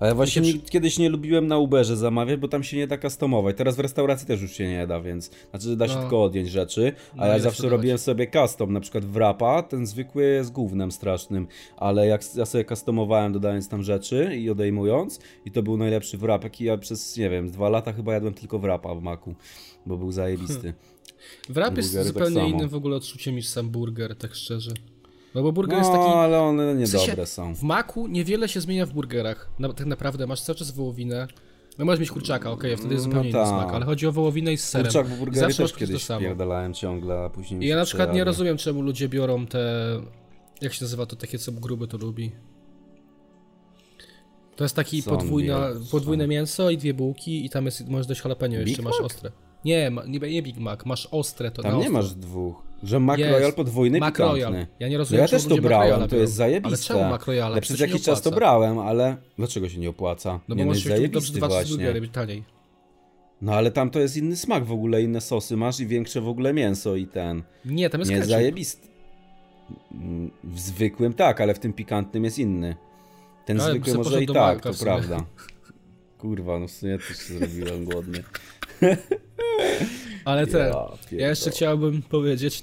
Speaker 2: Ale właśnie
Speaker 1: się
Speaker 2: nie- kiedyś nie lubiłem na Uberze zamawiać, bo tam się nie da customować. Teraz w restauracji też już się nie da, więc znaczy da się
Speaker 1: No.
Speaker 2: tylko odjąć rzeczy,
Speaker 1: No
Speaker 2: ale
Speaker 1: i
Speaker 2: ja
Speaker 1: da się
Speaker 2: zawsze
Speaker 1: dodać.
Speaker 2: robiłem sobie custom, na przykład wrapa, ten zwykły jest gównem strasznym, ale jak s- ja sobie customowałem dodając tam rzeczy i odejmując i to był najlepszy wrap, jaki ja przez, nie wiem, dwa lata chyba jadłem tylko wrapa w maku, bo
Speaker 1: Hmm.
Speaker 2: był zajebisty.
Speaker 1: Wrap jest
Speaker 2: Burgery tak
Speaker 1: zupełnie
Speaker 2: samo.
Speaker 1: innym w ogóle odczuciem niż sam burger, tak szczerze. No bo burger
Speaker 2: No,
Speaker 1: jest taki
Speaker 2: ale one
Speaker 1: W sensie,
Speaker 2: niedobre są.
Speaker 1: W maku niewiele się zmienia w burgerach. Na, tak naprawdę masz cały czas wołowinę. No możesz mieć kurczaka, okej, wtedy jest
Speaker 2: No
Speaker 1: zupełnie inny
Speaker 2: tak.
Speaker 1: smak, ale chodzi o wołowinę i z serem.
Speaker 2: Kurczak, bo burgery
Speaker 1: Zawsze masz
Speaker 2: też
Speaker 1: po prostu
Speaker 2: kiedyś
Speaker 1: to samo.
Speaker 2: pierdalałem ciągle, a później mi
Speaker 1: I ja
Speaker 2: się
Speaker 1: na przykład nie
Speaker 2: przejadłem.
Speaker 1: rozumiem, czemu ludzie biorą te... Jak się nazywa to? Takie, co gruby to lubi. To jest taki
Speaker 2: Zombie,
Speaker 1: podwójna,
Speaker 2: jak to
Speaker 1: podwójne
Speaker 2: są.
Speaker 1: mięso i dwie bułki i tam jest, możesz dać jalapeno
Speaker 2: Big
Speaker 1: jeszcze, masz
Speaker 2: Mac?
Speaker 1: ostre. Nie, ma, nie, nie Big Mac, masz ostre to na
Speaker 2: Tam nie
Speaker 1: ostro.
Speaker 2: masz dwóch. Że Mac
Speaker 1: No. Jest.
Speaker 2: Royal podwójny
Speaker 1: Mac
Speaker 2: pikantny.
Speaker 1: Royal. Ja nie
Speaker 2: No
Speaker 1: rozumiem,
Speaker 2: ja
Speaker 1: czemu
Speaker 2: też to
Speaker 1: ludzie Mac Royala
Speaker 2: brałem, to
Speaker 1: biorą.
Speaker 2: jest zajebiste.
Speaker 1: Ale czemu Mac Royala?
Speaker 2: Ale
Speaker 1: Przecież
Speaker 2: przez
Speaker 1: się
Speaker 2: jakiś
Speaker 1: nie
Speaker 2: czas to
Speaker 1: opłaca.
Speaker 2: brałem, ale dlaczego się nie opłaca?
Speaker 1: No bo
Speaker 2: nie, no
Speaker 1: możesz
Speaker 2: jest
Speaker 1: mieć dobrze
Speaker 2: zajebisty
Speaker 1: dwa, trzy
Speaker 2: właśnie.
Speaker 1: burgery być taniej.
Speaker 2: No ale tam to jest inny smak w ogóle, inne sosy masz i większe w ogóle mięso i ten.
Speaker 1: Nie, tam jest
Speaker 2: Nie,
Speaker 1: ketchup.
Speaker 2: zajebisty. Mm, W zwykłym tak, ale w tym pikantnym jest inny. Ten
Speaker 1: Ale bym
Speaker 2: zwykły
Speaker 1: sobie
Speaker 2: może
Speaker 1: poszedł
Speaker 2: i
Speaker 1: do
Speaker 2: tak,
Speaker 1: Maca
Speaker 2: to
Speaker 1: w sumie.
Speaker 2: prawda. Kurwa, no w sumie też się zrobiłem głodny.
Speaker 1: Ale ten,
Speaker 2: Ja
Speaker 1: ja jeszcze
Speaker 2: pierdolę.
Speaker 1: chciałbym powiedzieć,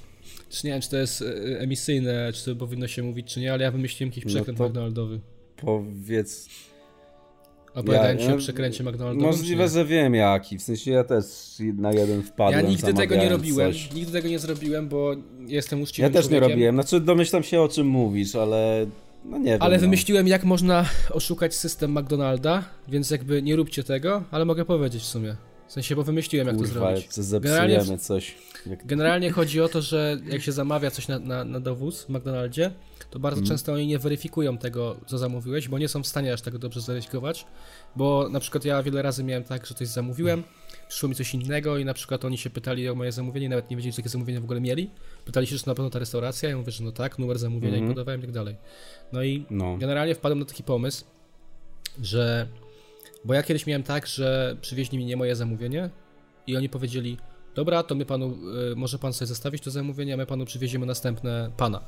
Speaker 1: czy nie wiem, czy to jest e, emisyjne, czy to powinno się mówić, czy nie, ale ja wymyśliłem jakiś
Speaker 2: No
Speaker 1: przekręt
Speaker 2: to-
Speaker 1: McDonaldowy.
Speaker 2: Powiedz
Speaker 1: Opowiadałem
Speaker 2: Ja-
Speaker 1: ci
Speaker 2: ja-
Speaker 1: o przekręcie McDonaldowym.
Speaker 2: no, Możliwe,
Speaker 1: czy
Speaker 2: że wiem jaki. W sensie ja też na jeden
Speaker 1: nie?
Speaker 2: wpadłem.
Speaker 1: Ja nigdy tego nie
Speaker 2: zamawiając
Speaker 1: robiłem,
Speaker 2: Coś.
Speaker 1: nigdy tego nie zrobiłem, bo jestem
Speaker 2: Ja
Speaker 1: uczciwym
Speaker 2: też nie
Speaker 1: człowiekiem.
Speaker 2: robiłem. Znaczy domyślam się o czym mówisz, ale no nie wiem.
Speaker 1: Ale
Speaker 2: no.
Speaker 1: wymyśliłem, jak można oszukać system McDonalda, więc jakby nie róbcie tego, ale mogę powiedzieć w sumie. W sensie, bo wymyśliłem, jak to
Speaker 2: Kurwa,
Speaker 1: zrobić.
Speaker 2: co
Speaker 1: Generalnie
Speaker 2: zepsujemy coś. Jak...
Speaker 1: Tak, Generalnie chodzi o to, że jak się zamawia coś na, na, na dowóz w McDonaldzie, to bardzo często oni nie weryfikują tego, co zamówiłeś, bo nie są w stanie aż tego dobrze zweryfikować. Bo na przykład ja wiele razy miałem tak, że coś zamówiłem, przyszło mi coś innego i na przykład oni się pytali o moje zamówienie, nawet nie wiedzieli, jakie zamówienie w ogóle mieli. Pytali się, czy to na pewno ta restauracja, ja mówię, że no tak, numer zamówienia i podawałem i tak dalej. No i
Speaker 2: No.
Speaker 1: generalnie wpadłem na taki pomysł, że. Bo ja kiedyś miałem tak, że przywieźli mi nie moje zamówienie i oni powiedzieli: Dobra, to my panu, y, może pan sobie zostawić to zamówienie, a my panu przywieziemy następne pana.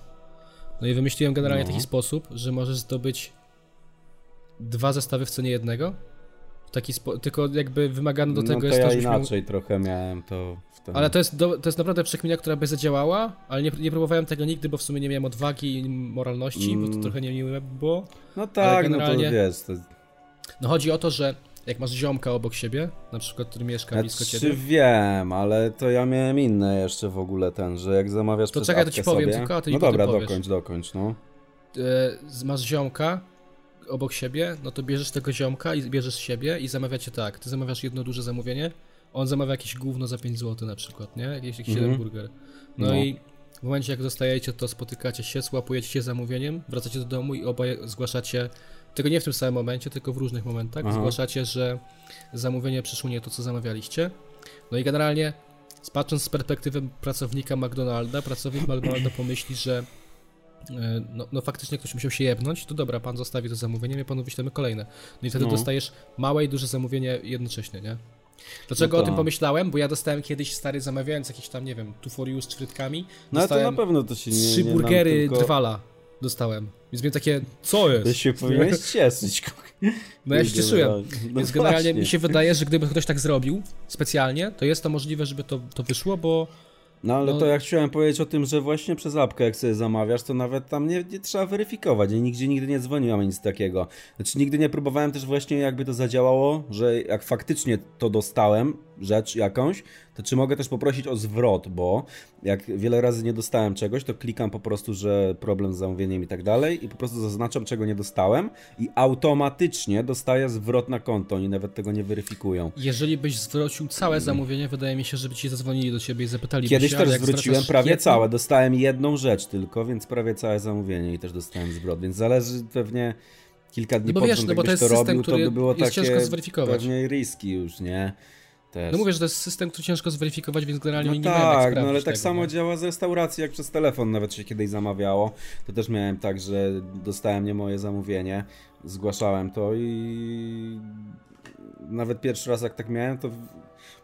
Speaker 1: No i wymyśliłem generalnie
Speaker 2: No.
Speaker 1: taki sposób, że możesz zdobyć dwa zestawy w cenie jednego. W Taki spo- tylko jakby wymagane do
Speaker 2: no
Speaker 1: tego
Speaker 2: to
Speaker 1: jest
Speaker 2: ja
Speaker 1: to, żebyś miał...
Speaker 2: inaczej trochę miałem to w ten...
Speaker 1: Ale to jest, do, to jest naprawdę przekmina, która by zadziałała, ale nie, nie próbowałem tego nigdy, bo w sumie nie miałem odwagi i moralności, bo
Speaker 2: Mm.
Speaker 1: to trochę niemiłe by było.
Speaker 2: No tak,
Speaker 1: generalnie-
Speaker 2: no to wiesz. To...
Speaker 1: No chodzi o to, że jak masz ziomka obok siebie, na przykład, który mieszka blisko
Speaker 2: Znaczy
Speaker 1: ciebie,
Speaker 2: wiem, ale to ja miałem inne jeszcze w ogóle ten, że jak zamawiasz
Speaker 1: To
Speaker 2: przez
Speaker 1: czekaj, to ci
Speaker 2: apkę
Speaker 1: powiem
Speaker 2: sobie...
Speaker 1: tylko, a ty mi
Speaker 2: No
Speaker 1: potem
Speaker 2: dobra,
Speaker 1: powiesz.
Speaker 2: dokończ, dokończ, no.
Speaker 1: e, z- masz ziomka obok siebie, no to bierzesz tego ziomka i bierzesz siebie i zamawiacie tak. Ty zamawiasz jedno duże zamówienie, on zamawia jakieś gówno za 5 zł na przykład, nie? Jakiś, jakiś jeden burger. No,
Speaker 2: No.
Speaker 1: i w momencie jak dostajecie to, spotykacie się, słapujecie się zamówieniem, wracacie do domu i obaj zgłaszacie, tylko nie w tym samym momencie, tylko w różnych momentach,
Speaker 2: Aha.
Speaker 1: zgłaszacie, że zamówienie przyszło nie to, co zamawialiście. No i generalnie, patrząc z perspektywy pracownika McDonalda, pracownik McDonalda pomyśli, że E, no, no faktycznie ktoś musiał się jebnąć, to dobra, pan zostawi to zamówienie, my panu wyślemy kolejne. No i wtedy
Speaker 2: No.
Speaker 1: dostajesz małe i duże zamówienie jednocześnie, nie? Dlaczego
Speaker 2: No
Speaker 1: o tym
Speaker 2: tak.
Speaker 1: pomyślałem? Bo ja dostałem kiedyś, stary, zamawiając jakieś tam, nie wiem, tuforius z frytkami,
Speaker 2: No ale to
Speaker 1: dostałem
Speaker 2: na pewno to się nie...
Speaker 1: trzy
Speaker 2: nie nam
Speaker 1: burgery
Speaker 2: tylko...
Speaker 1: drwala dostałem. Więc miałem takie, co
Speaker 2: Ty
Speaker 1: jest?
Speaker 2: się powinieneś cieszyć. kurwa.
Speaker 1: No ja się
Speaker 2: Kurde,
Speaker 1: cieszyłem.
Speaker 2: no. No
Speaker 1: Więc generalnie
Speaker 2: właśnie.
Speaker 1: mi się wydaje, że gdyby ktoś tak zrobił specjalnie, to jest to możliwe, żeby to, to wyszło, bo
Speaker 2: No ale
Speaker 1: no-
Speaker 2: to jak chciałem powiedzieć o tym, że właśnie przez apkę jak sobie zamawiasz, to nawet tam nie, nie trzeba weryfikować. Ja nigdzie nigdy nie dzwoniłem ani nic takiego. Znaczy nigdy nie próbowałem też właśnie jakby to zadziałało, że jak faktycznie to dostałem, rzecz jakąś, to czy mogę też poprosić o zwrot, bo jak wiele razy nie dostałem czegoś, to klikam po prostu, że problem z zamówieniem i tak dalej i po prostu zaznaczam, czego nie dostałem i automatycznie dostaję zwrot na konto. Oni nawet tego nie weryfikują.
Speaker 1: jeżeli byś zwrócił całe zamówienie, wydaje mi się, żeby ci zadzwonili do ciebie i zapytali
Speaker 2: Kiedyś
Speaker 1: się,
Speaker 2: też
Speaker 1: ale jak
Speaker 2: zwróciłem
Speaker 1: zwracasz
Speaker 2: prawie
Speaker 1: jedno-
Speaker 2: całe. Dostałem jedną rzecz tylko, więc prawie całe zamówienie i też dostałem zwrot, więc zależy pewnie kilka dni
Speaker 1: No bo
Speaker 2: po
Speaker 1: wiesz,
Speaker 2: tym,
Speaker 1: no bo
Speaker 2: jakbyś
Speaker 1: to jest
Speaker 2: to
Speaker 1: system,
Speaker 2: robił,
Speaker 1: który
Speaker 2: to by było
Speaker 1: jest
Speaker 2: takie
Speaker 1: ciężko zweryfikować.
Speaker 2: pewnie riski już, nie? Też.
Speaker 1: No mówię, że to jest system, który ciężko zweryfikować, więc generalnie
Speaker 2: No
Speaker 1: oni nie mają jak
Speaker 2: tak, no
Speaker 1: sprawdzić
Speaker 2: ale tak
Speaker 1: tego,
Speaker 2: samo
Speaker 1: nie?
Speaker 2: działa z restauracji, jak przez telefon nawet się kiedyś zamawiało. To też miałem tak, że dostałem nie moje zamówienie, zgłaszałem to i nawet pierwszy raz jak tak miałem, to w-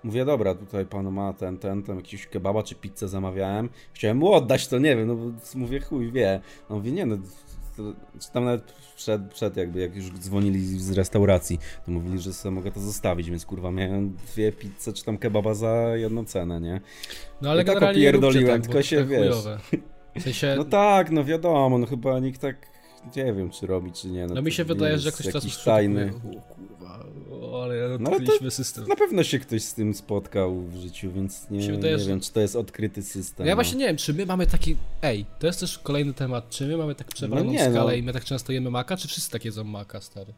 Speaker 2: mówię, dobra, tutaj pan ma ten, ten, tam jakiś kebaba czy pizzę zamawiałem. Chciałem mu oddać to, nie wiem, no bo mówię, chuj wie. On mówi, nie no, czy tam nawet przed, przed jakby, jak już dzwonili z restauracji, to mówili, że sobie mogę to zostawić, więc kurwa miałem dwie pizze czy tam kebaba za jedną cenę, nie?
Speaker 1: No ale
Speaker 2: I tak
Speaker 1: generalnie nie róbcie tak,
Speaker 2: opierdoliłem, tylko
Speaker 1: bo to
Speaker 2: się,
Speaker 1: tak
Speaker 2: wiesz.
Speaker 1: chujowe. W sensie,
Speaker 2: No tak, no wiadomo, no chyba nikt tak, nie wiem, czy robi, czy nie.
Speaker 1: no,
Speaker 2: to
Speaker 1: mi się
Speaker 2: nie
Speaker 1: wydaje,
Speaker 2: jest
Speaker 1: że ktoś teraz
Speaker 2: jakiś
Speaker 1: już
Speaker 2: tajny.
Speaker 1: O kurwa, o, ale
Speaker 2: to- no
Speaker 1: odkryliśmy system.
Speaker 2: Na pewno się ktoś z tym spotkał w życiu, więc nie,
Speaker 1: Mi się wydaje,
Speaker 2: nie
Speaker 1: że-
Speaker 2: wiem, czy to jest odkryty system.
Speaker 1: Ja
Speaker 2: no.
Speaker 1: właśnie nie wiem, czy my mamy taki. Ej, to jest też kolejny temat. Czy my mamy tak przewaloną
Speaker 2: nie, no.
Speaker 1: skalę i my tak często jemy maka, czy wszyscy tak jedzą maka, stary?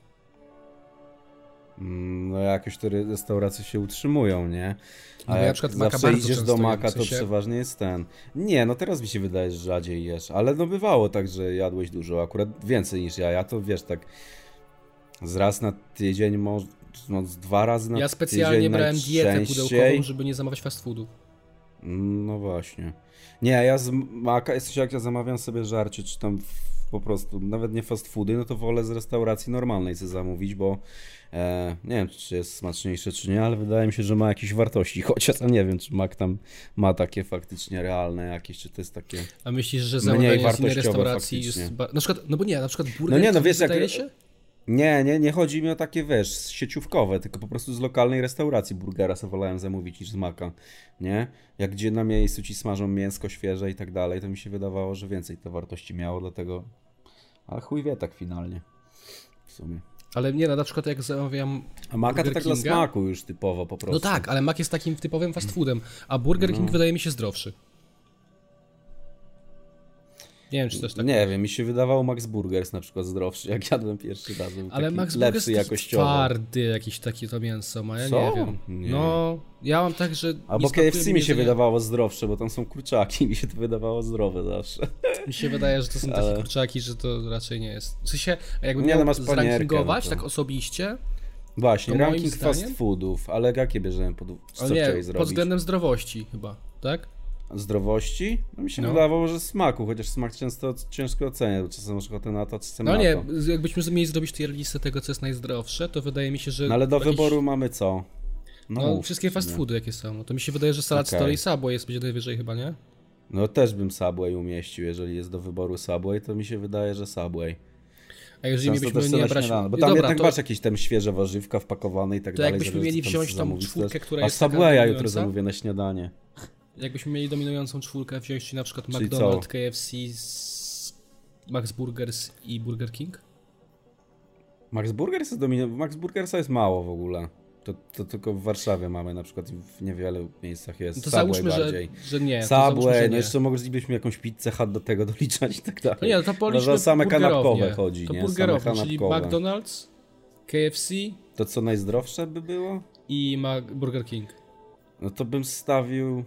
Speaker 2: Mm, No jakoś te re- restauracje się utrzymują, nie?
Speaker 1: No,
Speaker 2: A
Speaker 1: ja na
Speaker 2: jak
Speaker 1: przykład maka
Speaker 2: zawsze
Speaker 1: bardzo
Speaker 2: idziesz
Speaker 1: często
Speaker 2: do
Speaker 1: jem,
Speaker 2: maka,
Speaker 1: w sensie-
Speaker 2: to przeważnie jest ten. Nie, no teraz mi się wydaje, że rzadziej jesz, ale no bywało tak, że jadłeś dużo, akurat więcej niż ja. Ja to wiesz, tak z raz na tydzień, może no, z dwa razy na
Speaker 1: Ja specjalnie
Speaker 2: tydzień
Speaker 1: brałem dietę pudełkową,
Speaker 2: najczęściej.
Speaker 1: żeby nie zamawiać fast foodów.
Speaker 2: No właśnie. Nie, ja z maka, jest coś jak ja zamawiam sobie żarcie, czy tam w- po prostu, nawet nie fast foody, no to wolę z restauracji normalnej sobie zamówić, bo e, nie wiem, czy jest smaczniejsze, czy nie, ale wydaje mi się, że ma jakieś wartości, chociaż ja nie wiem, czy mak tam ma takie faktycznie realne jakieś, czy to jest takie...
Speaker 1: A myślisz, że
Speaker 2: Mniej
Speaker 1: zamawianie z innej
Speaker 2: wartościowe
Speaker 1: restauracji
Speaker 2: faktycznie.
Speaker 1: jest. Ba... Na przykład, no bo nie, na przykład burger.
Speaker 2: No nie, no wiesz, jak-
Speaker 1: wydaje się?
Speaker 2: Nie, nie, nie chodzi mi o takie, wiesz, sieciówkowe, tylko po prostu z lokalnej restauracji burgera sobie wolałem zamówić niż z maka, nie? Jak gdzie na miejscu ci smażą mięsko świeże i tak dalej, to mi się wydawało, że więcej to wartości miało, dlatego... Ale chuj wie tak finalnie, w sumie.
Speaker 1: Ale nie, no na przykład jak zamawiam.
Speaker 2: A maka to
Speaker 1: Burger
Speaker 2: tak dla
Speaker 1: Kinga?
Speaker 2: smaku już typowo po prostu.
Speaker 1: No tak, ale mak jest takim typowym
Speaker 2: Mm.
Speaker 1: fast foodem, a Burger
Speaker 2: No.
Speaker 1: King wydaje mi się zdrowszy. Nie wiem, czy też tak.
Speaker 2: Nie wiem, mi się wydawało Max Burger jest na przykład zdrowszy, jak jadłem pierwszy raz. był
Speaker 1: Ale
Speaker 2: Mm, taki
Speaker 1: Max Burger
Speaker 2: lepszy
Speaker 1: jest jakoś
Speaker 2: jakościowo.
Speaker 1: twardy jakiś taki to mięso ma, ja nie
Speaker 2: Co?
Speaker 1: wiem.
Speaker 2: Nie.
Speaker 1: No, ja mam tak, że... nie
Speaker 2: Albo
Speaker 1: smakuje
Speaker 2: KFC mi się
Speaker 1: jedzenie.
Speaker 2: wydawało zdrowsze, bo tam są kurczaki, mi się to wydawało zdrowe zawsze.
Speaker 1: Mi się wydaje, że to są takie
Speaker 2: Ale-
Speaker 1: kurczaki, że to raczej nie jest. W sensie, a jakbym
Speaker 2: Nie, no
Speaker 1: miał
Speaker 2: masz panierkę,
Speaker 1: zrankingować
Speaker 2: no to-
Speaker 1: tak osobiście,
Speaker 2: Właśnie,
Speaker 1: To moim
Speaker 2: ranking
Speaker 1: zdaniem-
Speaker 2: fast foodów, ale jakie bierzemy pod co
Speaker 1: ale nie,
Speaker 2: chciałeś
Speaker 1: pod
Speaker 2: zrobić?
Speaker 1: względem zdrowości chyba, tak?
Speaker 2: Zdrowości? No mi się
Speaker 1: No.
Speaker 2: wydawało, że smaku, chociaż smak często ciężko ocenię, bo czasem masz ochotę na to, czasem
Speaker 1: No
Speaker 2: na
Speaker 1: nie,
Speaker 2: to.
Speaker 1: z- jakbyśmy mieli zrobić tier listę tego, co jest najzdrowsze, to wydaje mi się, że...
Speaker 2: No ale do
Speaker 1: jakiś-
Speaker 2: wyboru mamy co? No,
Speaker 1: No,
Speaker 2: mów.
Speaker 1: wszystkie fast foody jakie są. No To mi się wydaje, że salat
Speaker 2: Okej.
Speaker 1: stoi Subway jest będzie najwyżej chyba, nie?
Speaker 2: no też bym Subway umieścił, jeżeli jest do wyboru Subway, to mi się wydaje, że Subway.
Speaker 1: A jeżeli
Speaker 2: Często też
Speaker 1: mielibyśmy
Speaker 2: sobie
Speaker 1: nie
Speaker 2: na
Speaker 1: brać...
Speaker 2: śniadanie, bo
Speaker 1: I
Speaker 2: tam
Speaker 1: dobra,
Speaker 2: jednak
Speaker 1: to-
Speaker 2: masz jakieś tam świeże warzywka wpakowane i tak
Speaker 1: To
Speaker 2: dalej.
Speaker 1: jakbyśmy
Speaker 2: zależy,
Speaker 1: mieli
Speaker 2: co tam
Speaker 1: wziąć
Speaker 2: sobie
Speaker 1: tą
Speaker 2: zamówisz,
Speaker 1: czwórkę,
Speaker 2: też.
Speaker 1: która
Speaker 2: A
Speaker 1: jest taka
Speaker 2: Subwaya jutro
Speaker 1: dominująca?
Speaker 2: zamówię na śniadanie.
Speaker 1: Jakbyśmy mieli dominującą czwórkę, wziąć ci na przykład
Speaker 2: Czyli
Speaker 1: McDonald's,
Speaker 2: co?
Speaker 1: KFC, s- Max Burgers i Burger King?
Speaker 2: Max Burgers jest domino... Max Burgersa jest mało w ogóle. To, to tylko w Warszawie mamy na przykład i w niewielu miejscach jest.
Speaker 1: No to
Speaker 2: Subway
Speaker 1: załóżmy, że,
Speaker 2: bardziej.
Speaker 1: że nie. to załóżmy, że
Speaker 2: Subway,
Speaker 1: nie.
Speaker 2: no jeszcze moglibyśmy jakąś pizzę hut do tego doliczać i tak dalej.
Speaker 1: No nie, no to
Speaker 2: no,
Speaker 1: policzmy
Speaker 2: za same
Speaker 1: burgerownie.
Speaker 2: kanapkowe chodzi,
Speaker 1: To
Speaker 2: nie?
Speaker 1: burgerownie,
Speaker 2: same
Speaker 1: czyli
Speaker 2: kanapkowe.
Speaker 1: McDonald's, KFC
Speaker 2: To co najzdrowsze by było?
Speaker 1: i Mac Burger King.
Speaker 2: No to bym stawił...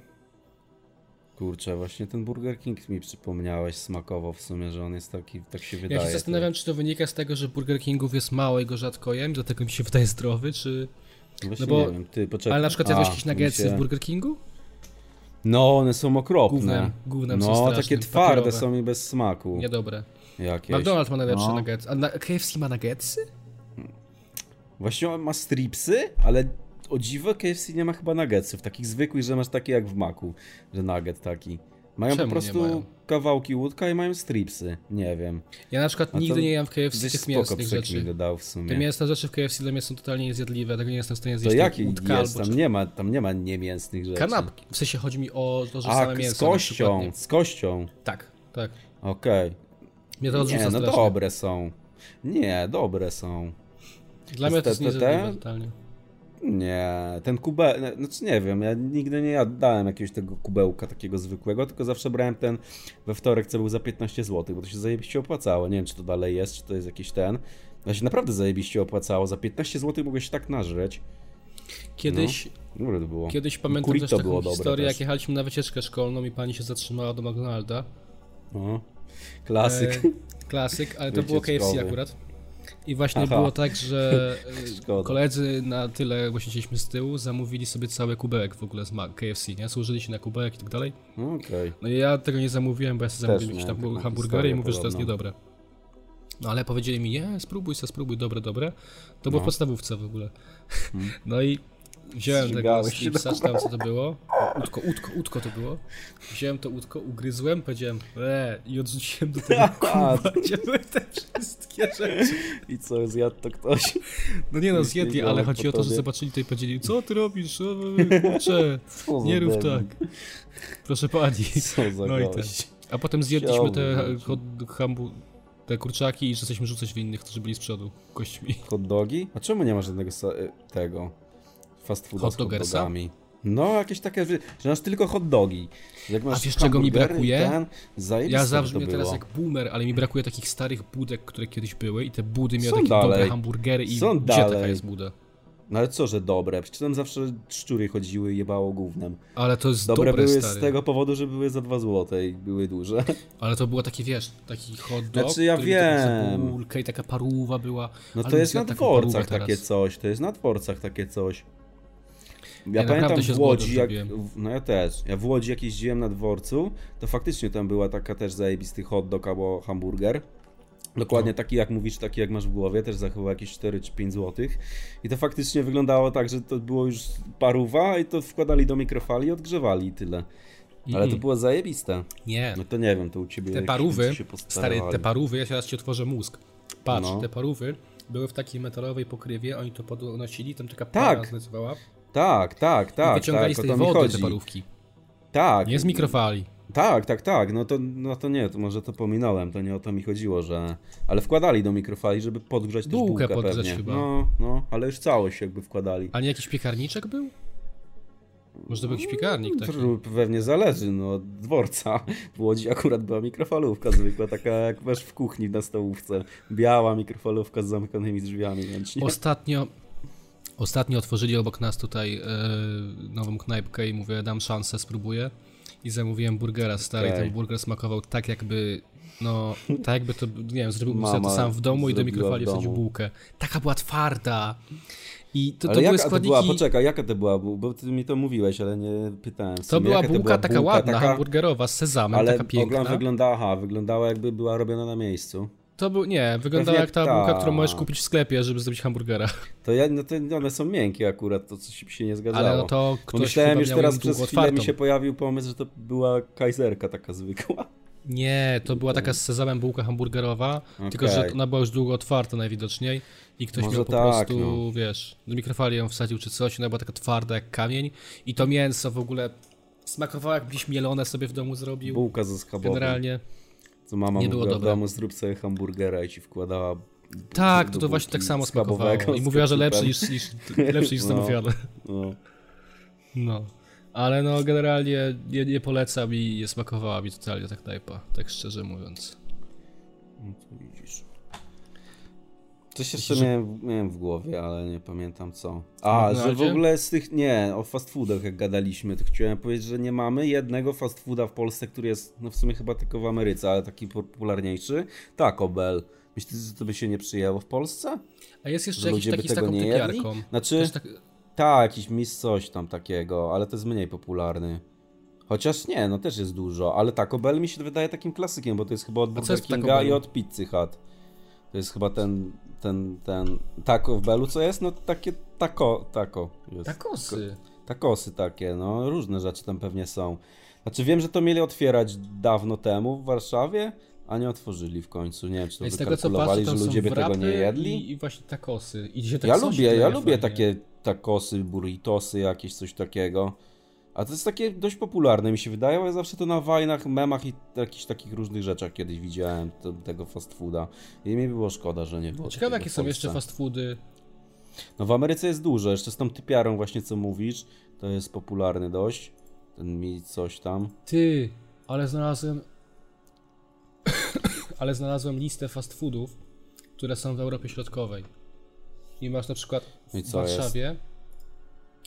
Speaker 2: Kurczę, właśnie ten Burger King mi przypomniałeś smakowo w sumie, że on jest taki, tak się wydaje.
Speaker 1: Ja się zastanawiam, czy to wynika z tego, że Burger Kingów jest mało i go rzadko jem, dlatego mi się wydaje zdrowy, czy... no
Speaker 2: Właśnie
Speaker 1: bo-
Speaker 2: nie wiem, ty, poczekaj.
Speaker 1: Ale na przykład
Speaker 2: Tak. A,
Speaker 1: jadłeś jakieś
Speaker 2: mi
Speaker 1: nuggetsy
Speaker 2: się-
Speaker 1: w Burger Kingu?
Speaker 2: No, one są okropne.
Speaker 1: Gównem- gównem są
Speaker 2: no,
Speaker 1: strasznym,
Speaker 2: takie twarde
Speaker 1: papierowe.
Speaker 2: są i bez smaku.
Speaker 1: Niedobre.
Speaker 2: Jakieś.
Speaker 1: McDonald's ma najlepsze
Speaker 2: No.
Speaker 1: nuggets, a na- KFC ma nuggetsy?
Speaker 2: Właśnie on ma stripsy, ale o dziwo KFC nie ma chyba nuggetsów, takich zwykłych, że masz takie jak w maku, że nugget taki. Mają
Speaker 1: Czemu nie
Speaker 2: po
Speaker 1: mają?
Speaker 2: prostu kawałki łódka i mają stripsy, nie wiem.
Speaker 1: Ja na przykład
Speaker 2: A to
Speaker 1: nigdy nie jem w KFC
Speaker 2: Gdzieś
Speaker 1: tych
Speaker 2: spoko
Speaker 1: mięsnych rzeczy.
Speaker 2: przekmin dodał w
Speaker 1: Te
Speaker 2: sumie.
Speaker 1: mięsne rzeczy w KFC dla mnie są totalnie niezjadliwe, tego nie jestem w stanie
Speaker 2: To
Speaker 1: zjeść. tak
Speaker 2: jaki
Speaker 1: łódka
Speaker 2: jest?
Speaker 1: albo
Speaker 2: Tam nie ma, tam nie ma niemięsnych rzeczy.
Speaker 1: Kanapki. W sensie chodzi mi o to, że
Speaker 2: A,
Speaker 1: same
Speaker 2: z
Speaker 1: mięso. na przykład,
Speaker 2: kością,
Speaker 1: nie?
Speaker 2: z kością.
Speaker 1: Tak, tak.
Speaker 2: Okej.
Speaker 1: Mnie to odrzuca
Speaker 2: Nie, no
Speaker 1: strasznie.
Speaker 2: dobre są. Nie, dobre są.
Speaker 1: Dla mnie to jest
Speaker 2: Te- te- te?
Speaker 1: niezjadliwe totalnie.
Speaker 2: Nie, ten kubeł, znaczy nie wiem, ja nigdy nie jadałem jakiegoś tego kubełka takiego zwykłego, tylko zawsze brałem ten we wtorek, co był za 15 zł, bo to się zajebiście opłacało. Nie wiem, czy to dalej jest, czy to jest jakiś ten. To się naprawdę zajebiście opłacało. Za 15 zł mogłeś się tak nażreć. No.
Speaker 1: Kiedyś,
Speaker 2: Dobre to było.
Speaker 1: kiedyś pamiętam
Speaker 2: Kurito
Speaker 1: też taką
Speaker 2: było dobre
Speaker 1: historię,
Speaker 2: też.
Speaker 1: jak jechaliśmy na wycieczkę szkolną i pani się zatrzymała do McDonalda.
Speaker 2: No. Klasyk.
Speaker 1: E, klasyk, ale to było KFC
Speaker 2: Wycieczkowy.
Speaker 1: akurat. I właśnie
Speaker 2: Aha.
Speaker 1: było tak, że e,
Speaker 2: Szkoda.
Speaker 1: koledzy na tyle, właśnie siedzieliśmy z tyłu, zamówili sobie cały kubełek w ogóle z Mac- KFC, nie? Służyli się na kubełek i tak dalej.
Speaker 2: No, Okej.
Speaker 1: No i ja tego nie zamówiłem, bo ja sobie
Speaker 2: Też
Speaker 1: zamówiłem jakieś
Speaker 2: miałem
Speaker 1: tam
Speaker 2: taką
Speaker 1: hamburgery i
Speaker 2: historię
Speaker 1: mówię, że to jest
Speaker 2: podobną.
Speaker 1: niedobre. No ale powiedzieli mi, nie, spróbuj se, spróbuj, dobre, dobre. To było w podstawówce w ogóle. No i Wziąłem tego
Speaker 2: Zżygałem Hmm. się
Speaker 1: slipsa, czy tam co to było. Utko, utko, utko to było. Wziąłem to utko, ugryzłem, powiedziałem le i odrzuciłem do tego kuba, gdzie były te wszystkie rzeczy.
Speaker 2: I co, zjadł to ktoś?
Speaker 1: No nie no,
Speaker 2: Już nie
Speaker 1: zjedli,
Speaker 2: było
Speaker 1: ale
Speaker 2: po
Speaker 1: chodzi o to, że
Speaker 2: tobie.
Speaker 1: zobaczyli to i powiedzieli, co ty robisz, o, kurczę,
Speaker 2: Co za
Speaker 1: nie rób
Speaker 2: debil.
Speaker 1: tak. Proszę pani.
Speaker 2: Co za
Speaker 1: No i tak.
Speaker 2: gość.
Speaker 1: A potem zjedliśmy te,
Speaker 2: Chciałbym.
Speaker 1: hot, hambu, te kurczaki i zaczęliśmy rzucać w innych, którzy byli z przodu kośćmi.
Speaker 2: Hot dogi? A czemu nie ma żadnego sa- y, tego fast fooda
Speaker 1: Hot
Speaker 2: z hot
Speaker 1: dogersa?
Speaker 2: dogami? No, jakieś takie, że, że masz tylko hot dogi. Jak masz
Speaker 1: wiesz, czego mi
Speaker 2: hamburgery i
Speaker 1: brakuje?
Speaker 2: Ten, zajebiste
Speaker 1: Ja
Speaker 2: by
Speaker 1: zawsze
Speaker 2: to
Speaker 1: mnie
Speaker 2: było.
Speaker 1: teraz jak boomer, ale mi brakuje takich starych budek, które kiedyś były i te budy miały
Speaker 2: Są
Speaker 1: takie dobre
Speaker 2: dalej.
Speaker 1: hamburgery i
Speaker 2: Są
Speaker 1: gdzie taka
Speaker 2: dalej.
Speaker 1: jest buda?
Speaker 2: No ale co, że dobre? Przecież tam zawsze szczury chodziły i jebało gównem.
Speaker 1: Ale to jest
Speaker 2: Dobre,
Speaker 1: dobre,
Speaker 2: były
Speaker 1: stary.
Speaker 2: z tego powodu, że były za 2 złote i były duże.
Speaker 1: Ale to było takie, wiesz, taki hot dog,
Speaker 2: Znaczy, ja
Speaker 1: który był taki za
Speaker 2: wiem.
Speaker 1: bułkę i taka paruwa była.
Speaker 2: No
Speaker 1: Ale
Speaker 2: to
Speaker 1: bym
Speaker 2: jest na
Speaker 1: zjadł taką parówę
Speaker 2: dworcach
Speaker 1: teraz.
Speaker 2: takie coś, to jest na dworcach takie coś. Ja
Speaker 1: naprawdę
Speaker 2: pamiętam
Speaker 1: się z
Speaker 2: w
Speaker 1: głodem
Speaker 2: Łodzi, jak,
Speaker 1: zrobiłem.
Speaker 2: w- no ja też, ja w Łodzi jak jeździłem na dworcu, to faktycznie tam była taka też zajebisty hot dog albo hamburger. Dokładnie
Speaker 1: No.
Speaker 2: taki jak mówisz, taki jak masz w głowie, też za chyba jakieś 4 czy 5 złotych. I to faktycznie wyglądało tak, że to było już paruwa i to wkładali do mikrofali i odgrzewali i tyle. Ale to było zajebiste.
Speaker 1: Nie,
Speaker 2: No to nie wiem, to u ciebie
Speaker 1: te
Speaker 2: jakoś
Speaker 1: parówy,
Speaker 2: się
Speaker 1: stary,
Speaker 2: postarali.
Speaker 1: te parówy, ja teraz ci otworzę mózg. Patrz,
Speaker 2: No.
Speaker 1: te parówy były w takiej metalowej pokrywie, oni to podnosili, tam taka
Speaker 2: Tak.
Speaker 1: para zlezywała
Speaker 2: Tak, tak,
Speaker 1: i
Speaker 2: tak,
Speaker 1: wyciągali
Speaker 2: tak,
Speaker 1: z
Speaker 2: o
Speaker 1: tej
Speaker 2: to mi
Speaker 1: wody te
Speaker 2: chodzi.
Speaker 1: parówki.
Speaker 2: Tak.
Speaker 1: Nie z mikrofali.
Speaker 2: Tak, tak, tak. No to, no to nie, to może to pominąłem, to nie o to mi chodziło, że. Ale wkładali do mikrofali, żeby podgrzać też
Speaker 1: Bułkę
Speaker 2: bułkę
Speaker 1: podgrzać
Speaker 2: pewnie.
Speaker 1: chyba.
Speaker 2: No, no, ale już całość jakby wkładali.
Speaker 1: A nie jakiś piekarniczek był? Może to był jakiś piekarnik taki.
Speaker 2: Pr- Mm, Pewnie zależy, no, od dworca. W Łodzi akurat była mikrofalówka zwykła, taka jak masz w kuchni na stołówce. Biała mikrofalówka z zamykanymi drzwiami ręcznie.
Speaker 1: Ostatnio, ostatnio otworzyli obok nas tutaj e, nową knajpkę i mówię, dam szansę, spróbuję. I zamówiłem burgera stary i
Speaker 2: Okej.
Speaker 1: ten burger smakował tak jakby, no, tak jakby to, nie wiem, zrobił
Speaker 2: Mama
Speaker 1: sobie to sam w domu i do
Speaker 2: zrobiła
Speaker 1: mikrofali
Speaker 2: w domu.
Speaker 1: wsadził bułkę. Taka była twarda. I to, to
Speaker 2: Ale
Speaker 1: były
Speaker 2: jaka to
Speaker 1: składniki...
Speaker 2: była, poczekaj, jaka to była, bu- bo ty mi to mówiłeś, ale nie pytałem. w
Speaker 1: to
Speaker 2: sumie.
Speaker 1: była
Speaker 2: Jaka
Speaker 1: bułka taka ładna, hamburgerowa z sezamem,
Speaker 2: ale
Speaker 1: taka piękna.
Speaker 2: ogląd wyglądała, aha, wyglądała jakby była robiona na miejscu.
Speaker 1: To był, nie, wyglądała
Speaker 2: Pewnie
Speaker 1: jak ta bułka, którą
Speaker 2: tak.
Speaker 1: możesz kupić w sklepie, żeby zrobić hamburgera.
Speaker 2: To ja, no to one są miękkie akurat, to coś mi się nie zgadzało.
Speaker 1: Ale no to ktoś
Speaker 2: Myślałem
Speaker 1: chyba
Speaker 2: już
Speaker 1: miał
Speaker 2: teraz
Speaker 1: ją
Speaker 2: przez
Speaker 1: długo
Speaker 2: chwilę
Speaker 1: otwartą.
Speaker 2: mi się pojawił pomysł, że to była kajzerka taka zwykła.
Speaker 1: Nie, to była taka z sezamem bułka hamburgerowa, tylko
Speaker 2: Okej.
Speaker 1: że ona była już długo otwarta najwidoczniej i ktoś
Speaker 2: Może
Speaker 1: miał po
Speaker 2: tak,
Speaker 1: prostu,
Speaker 2: no.
Speaker 1: wiesz, do mikrofali ją wsadził czy coś, ona była taka twarda jak kamień i to mięso w ogóle smakowało jakbyś mielone sobie w domu zrobił,
Speaker 2: Bułka ze schabową.
Speaker 1: generalnie.
Speaker 2: Co mama
Speaker 1: nie
Speaker 2: nie
Speaker 1: było
Speaker 2: mówiła w
Speaker 1: dobre.
Speaker 2: domu, zrób sobie hamburgera i ci wkładała...
Speaker 1: Tak, to,
Speaker 2: do
Speaker 1: to
Speaker 2: bułki
Speaker 1: właśnie tak samo
Speaker 2: schabowego
Speaker 1: smakowało i
Speaker 2: z
Speaker 1: mówiła, że lepszy
Speaker 2: ketchupem.
Speaker 1: niż, niż, lepszy niż
Speaker 2: No.
Speaker 1: zamawiane.
Speaker 2: No.
Speaker 1: No. Ale no generalnie nie, nie polecam i nie smakowała mi totalnie ta knajpa, tak szczerze mówiąc.
Speaker 2: No to widzisz. Coś jeszcze miałem, miałem w głowie, ale nie pamiętam co. A, że w
Speaker 1: McDonaldzie?
Speaker 2: ogóle z tych, nie, o fast foodach jak gadaliśmy, to chciałem powiedzieć, że nie mamy jednego fast fooda w Polsce, który jest, no w sumie chyba tylko w Ameryce, ale taki popularniejszy. Taco Bell. Myślisz, że to by się nie przyjęło w Polsce?
Speaker 1: A jest jeszcze
Speaker 2: Że
Speaker 1: jakiś
Speaker 2: ludzie by
Speaker 1: taki z
Speaker 2: tego
Speaker 1: taką
Speaker 2: nie jedli?
Speaker 1: typiarką.
Speaker 2: Znaczy,
Speaker 1: Też tak-
Speaker 2: tak, jakiś mis coś tam takiego, ale to jest mniej popularny. Chociaż nie, no też jest dużo, ale Taco Bell mi się wydaje takim klasykiem, bo to jest chyba od
Speaker 1: co
Speaker 2: Burger
Speaker 1: jest w Taco
Speaker 2: Kinga i
Speaker 1: Bellu?
Speaker 2: od Pizzy Hut. To jest chyba ten, ten, ten Taco w Bellu, co jest? No takie tako, tako. Jest.
Speaker 1: Tak. Takosy.
Speaker 2: Takosy takie, no różne rzeczy tam pewnie są. Znaczy wiem, że to mieli otwierać dawno temu w Warszawie, a nie otworzyli w końcu. Nie wiem, czy to
Speaker 1: Ja Z tego co patrzę,
Speaker 2: wykalkulowali,
Speaker 1: tam
Speaker 2: że
Speaker 1: są
Speaker 2: ludzie by tego
Speaker 1: wrapy
Speaker 2: nie jedli.
Speaker 1: I, I właśnie takosy. I dzisiaj tak
Speaker 2: Ja
Speaker 1: są się
Speaker 2: lubię, ja
Speaker 1: kleje
Speaker 2: lubię
Speaker 1: fajnie.
Speaker 2: takie takosy, burritosy, jakieś coś takiego. A to jest takie dość popularne, mi się wydaje, bo ja zawsze to na wajnach, memach i jakichś takich różnych rzeczach kiedyś widziałem to, tego fast fooda. I mi było szkoda, że nie było.
Speaker 1: Ciekawe
Speaker 2: takiego
Speaker 1: jakie są
Speaker 2: w
Speaker 1: jeszcze
Speaker 2: Polsce.
Speaker 1: fast foody.
Speaker 2: No w Ameryce jest dużo, jeszcze z tą typiarą właśnie co mówisz, to jest popularny dość. Ten mi coś tam.
Speaker 1: Ty, ale znalazłem... ale znalazłem listę fast foodów, które są w Europie Środkowej. I masz na przykład
Speaker 2: No i
Speaker 1: w
Speaker 2: co
Speaker 1: Warszawie...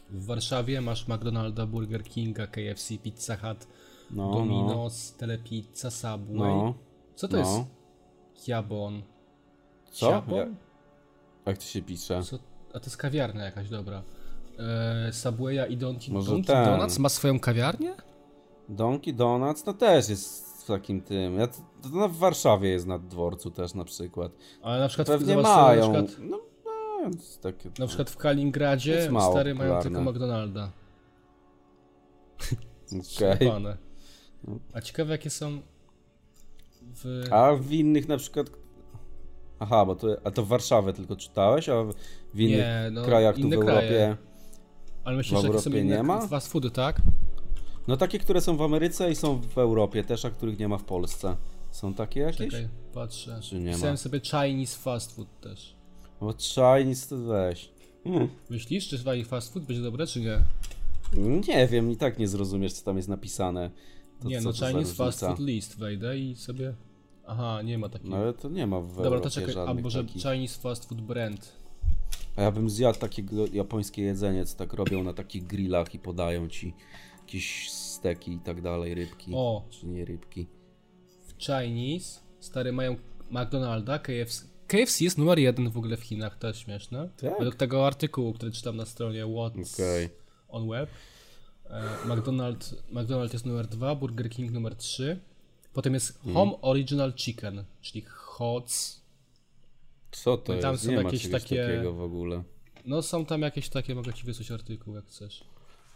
Speaker 1: W Warszawie masz McDonalda, Burger Kinga, KFC, Pizza Hut,
Speaker 2: No, no,
Speaker 1: Domino's, Telepizza, Subway.
Speaker 2: no.
Speaker 1: Co to
Speaker 2: no.
Speaker 1: jest? Jabon.
Speaker 2: Co?
Speaker 1: Jabon?
Speaker 2: Jak to się pisze?
Speaker 1: Co, a to jest kawiarnia jakaś, dobra. E, Subwaya i Donki
Speaker 2: Może
Speaker 1: Donki
Speaker 2: ten.
Speaker 1: Donuts ma swoją kawiarnię?
Speaker 2: Donki Donuts, no też jest w takim tym. Ja, to, to na- w Warszawie jest na dworcu też na przykład.
Speaker 1: Ale na przykład
Speaker 2: Pewnie
Speaker 1: zobaczyłem
Speaker 2: mają.
Speaker 1: Na przykład,
Speaker 2: No, więc takie...
Speaker 1: Na przykład w Kaliningradzie
Speaker 2: Jest mało
Speaker 1: stary mają
Speaker 2: popularne.
Speaker 1: tylko McDonalda.
Speaker 2: Okej. No.
Speaker 1: Szlapane. A ciekawe jakie są w...
Speaker 2: A w innych na przykład... Aha, bo to, a to Warszawę tylko czytałeś, a w- w innych
Speaker 1: Nie, no,
Speaker 2: krajach tu w
Speaker 1: inne
Speaker 2: Europie...
Speaker 1: kraje. Ale myślisz,
Speaker 2: w
Speaker 1: że jakie są
Speaker 2: Europie nie
Speaker 1: inne
Speaker 2: ma?
Speaker 1: fast foody, tak?
Speaker 2: No takie, które są w Ameryce i są w Europie też, a których nie ma w Polsce. Są takie jakieś?
Speaker 1: Czekaj, patrzę.
Speaker 2: Czy Znaczy nie ma?
Speaker 1: Pisałem sobie Chinese fast food też.
Speaker 2: Bo Chinese to weź. Hmm.
Speaker 1: Myślisz, czy Chinese fast food będzie dobre, czy nie?
Speaker 2: Nie wiem, i tak nie zrozumiesz, co tam jest napisane. To
Speaker 1: nie,
Speaker 2: co
Speaker 1: no
Speaker 2: to za
Speaker 1: Chinese fast
Speaker 2: różnica?
Speaker 1: food list wejdę i sobie... Aha, nie ma takiego.
Speaker 2: No ale to nie ma w
Speaker 1: Dobra, to
Speaker 2: Europie
Speaker 1: czekaj,
Speaker 2: żadnych
Speaker 1: albo że
Speaker 2: takich.
Speaker 1: Chinese fast food brand.
Speaker 2: A ja bym zjadł takie gr- japońskie jedzenie, co tak robią na takich grillach i podają ci jakieś steki i tak dalej, rybki.
Speaker 1: O.
Speaker 2: Czy nie rybki.
Speaker 1: W Chinese, stary, mają McDonalda, KFC. KFC jest numer jeden w ogóle w Chinach, to jest śmieszne.
Speaker 2: Tak?
Speaker 1: Według tego artykułu, który czytam na stronie What's
Speaker 2: Okej.
Speaker 1: on Web. E, McDonald, McDonald jest numer dwa, Burger King numer trzy. Potem jest
Speaker 2: Mm.
Speaker 1: Home Original Chicken, czyli Hots.
Speaker 2: Co to
Speaker 1: No i tam
Speaker 2: jest?
Speaker 1: są
Speaker 2: Nie ma
Speaker 1: jakieś
Speaker 2: czegoś
Speaker 1: takie-
Speaker 2: takiego w ogóle.
Speaker 1: No są tam jakieś takie, mogę ci wysłać artykuł jak chcesz.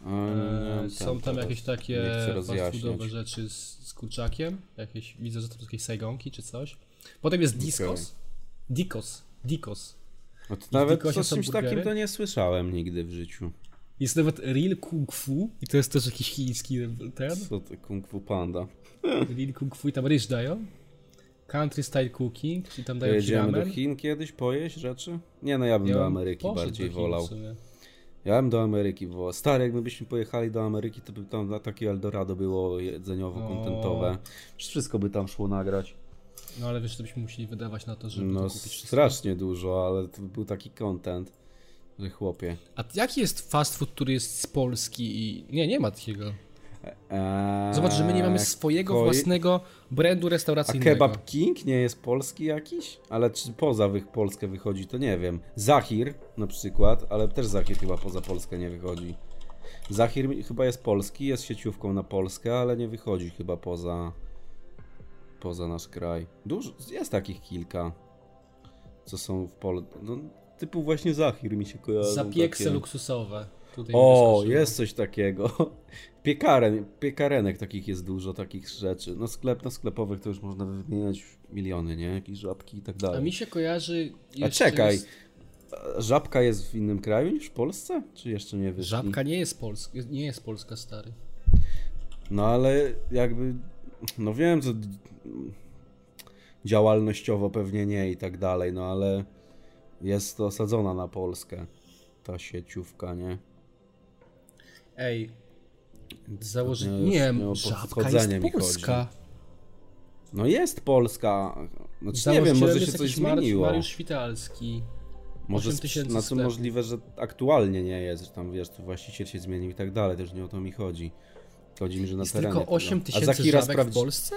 Speaker 2: A, nie
Speaker 1: E,
Speaker 2: wiem,
Speaker 1: Są tam
Speaker 2: teraz
Speaker 1: jakieś
Speaker 2: nie
Speaker 1: takie
Speaker 2: chcę
Speaker 1: fast
Speaker 2: rozjaśniać.
Speaker 1: foodowe rzeczy z, z kurczakiem. Jakieś, widzę, że to są jakieś sajgonki czy coś. Potem jest Discos. Dikos. Dikos.
Speaker 2: No to nawet
Speaker 1: Dikosie
Speaker 2: o
Speaker 1: są
Speaker 2: czymś takim
Speaker 1: burgery?
Speaker 2: to nie słyszałem nigdy w życiu.
Speaker 1: Jest nawet Real Kung Fu i to jest też jakiś chiński ten.
Speaker 2: Co to, Kung Fu Panda?
Speaker 1: Real Kung Fu i tam ryż dają. Country Style Cooking, czyli tam dają ci
Speaker 2: Pojedziemy
Speaker 1: ramen.
Speaker 2: do Chin kiedyś pojeść rzeczy? Nie no, ja bym
Speaker 1: Ja
Speaker 2: do
Speaker 1: bym
Speaker 2: Ameryki
Speaker 1: poszedł
Speaker 2: bardziej
Speaker 1: do Chin w
Speaker 2: wolał.
Speaker 1: sumie.
Speaker 2: Ja bym do Ameryki wolał. Stary, jakbyśmy pojechali do Ameryki, to by tam na takie Eldorado było jedzeniowo-kontentowe. Przecież Wszystko by tam szło nagrać.
Speaker 1: No ale wiesz, to byśmy musieli wydawać na to, żeby
Speaker 2: No
Speaker 1: to kupić wszystko.
Speaker 2: strasznie dużo, ale to był taki content, że chłopie.
Speaker 1: A jaki jest fast food, który jest z Polski i... Nie, nie ma takiego.
Speaker 2: Eee,
Speaker 1: Zobacz, że my nie mamy swojego
Speaker 2: koi-
Speaker 1: własnego brandu
Speaker 2: A
Speaker 1: restauracyjnego.
Speaker 2: Kebab King nie jest polski jakiś? Ale czy poza wych Polskę wychodzi, to nie wiem. Zahir na przykład, ale też Zahir chyba poza Polskę nie wychodzi. Zahir mi- chyba jest polski, jest sieciówką na Polskę, ale nie wychodzi chyba poza poza nasz kraj. Dużo, jest takich kilka, co są w Polsce. No, typu właśnie Zahir mi się kojarzy.
Speaker 1: Zapiekse luksusowe. Tutaj mi
Speaker 2: O,
Speaker 1: wyskoczyło.
Speaker 2: jest coś takiego. Piekaren, piekarenek takich jest dużo, takich rzeczy. No sklep, no sklepowych to już można wymieniać miliony, nie? Jakieś żabki i tak dalej.
Speaker 1: A mi się kojarzy...
Speaker 2: A
Speaker 1: jeszcze
Speaker 2: czekaj,
Speaker 1: Jest...
Speaker 2: żabka jest w innym kraju niż w Polsce? Czy jeszcze nie wyszli?
Speaker 1: Żabka nie jest Polska, nie jest Polska, stary.
Speaker 2: No ale jakby, no wiem, co d- działalnościowo pewnie nie i tak dalej, no ale jest to osadzona na Polskę, ta sieciówka, nie?
Speaker 1: Ej. Założyć...
Speaker 2: Nie,
Speaker 1: Nie,
Speaker 2: No, już nie o
Speaker 1: żabka jest
Speaker 2: podchodzenie mi
Speaker 1: Polska.
Speaker 2: No jest Polska, znaczy nie
Speaker 1: Założycielem
Speaker 2: wiem, może się
Speaker 1: jest
Speaker 2: coś
Speaker 1: jakiś Mar-
Speaker 2: zmieniło.
Speaker 1: Mariusz Świtalski.
Speaker 2: Może
Speaker 1: 8
Speaker 2: sp-
Speaker 1: tysięcy
Speaker 2: na co
Speaker 1: sklepów.
Speaker 2: możliwe, że aktualnie nie jest, że tam wiesz, tu właściciel się zmienił i tak dalej, też nie o to mi chodzi. Chodzi mi, że na
Speaker 1: Jest
Speaker 2: terenie.
Speaker 1: tylko 8
Speaker 2: tego. A
Speaker 1: tysięcy
Speaker 2: Zachira
Speaker 1: żabek w Polsce?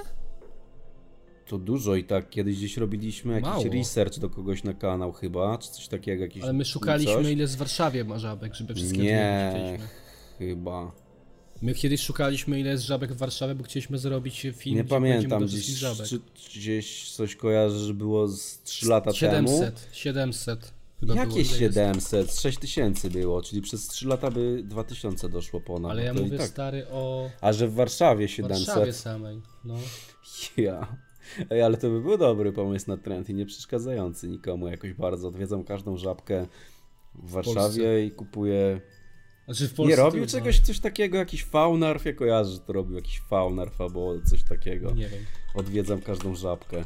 Speaker 2: To dużo i tak, kiedyś gdzieś robiliśmy jakiś
Speaker 1: Mało.
Speaker 2: research do kogoś na kanał chyba, czy coś takiego. Jakiś,
Speaker 1: Ale my szukaliśmy,
Speaker 2: coś.
Speaker 1: ile z Warszawie ma żabek, żeby wszystkie
Speaker 2: Nie,
Speaker 1: odwiedziliśmy.
Speaker 2: chyba.
Speaker 1: My kiedyś szukaliśmy, ile jest żabek w Warszawie, bo chcieliśmy zrobić film.
Speaker 2: Nie
Speaker 1: gdzie pojedziemy
Speaker 2: pamiętam,
Speaker 1: do wszystkich
Speaker 2: gdzieś, czy, gdzieś coś kojarzę, że było z 3 lata temu.
Speaker 1: 700, 700. chyba było,
Speaker 2: Jakieś
Speaker 1: ile jest.
Speaker 2: 700, 6000 było, czyli przez 3 lata by 2000 doszło ponad.
Speaker 1: Ale ja
Speaker 2: to i
Speaker 1: mówię
Speaker 2: tak.
Speaker 1: stary o
Speaker 2: A że w Warszawie 700.
Speaker 1: Warszawie samej. No.
Speaker 2: Ja. Ej, ale to by był dobry pomysł na trend i nie przeszkadzający nikomu jakoś bardzo. Odwiedzam każdą żabkę w Warszawie i kupuję.
Speaker 1: Znaczy w Polsce
Speaker 2: Nie robił
Speaker 1: trudno.
Speaker 2: czegoś coś takiego, jakiś faunarf? Ja kojarzę, że to robił jakiś faunarf albo coś takiego.
Speaker 1: Nie wiem.
Speaker 2: Odwiedzam każdą żabkę.